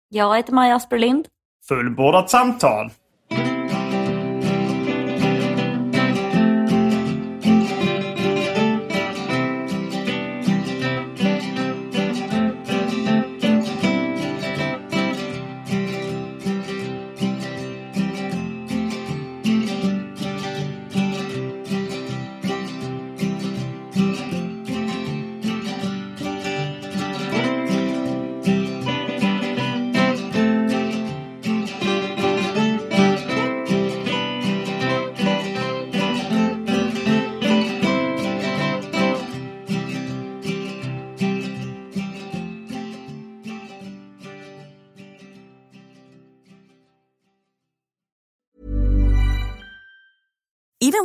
Jag heter Maja Asperlind.
Fullbordat samtal!
even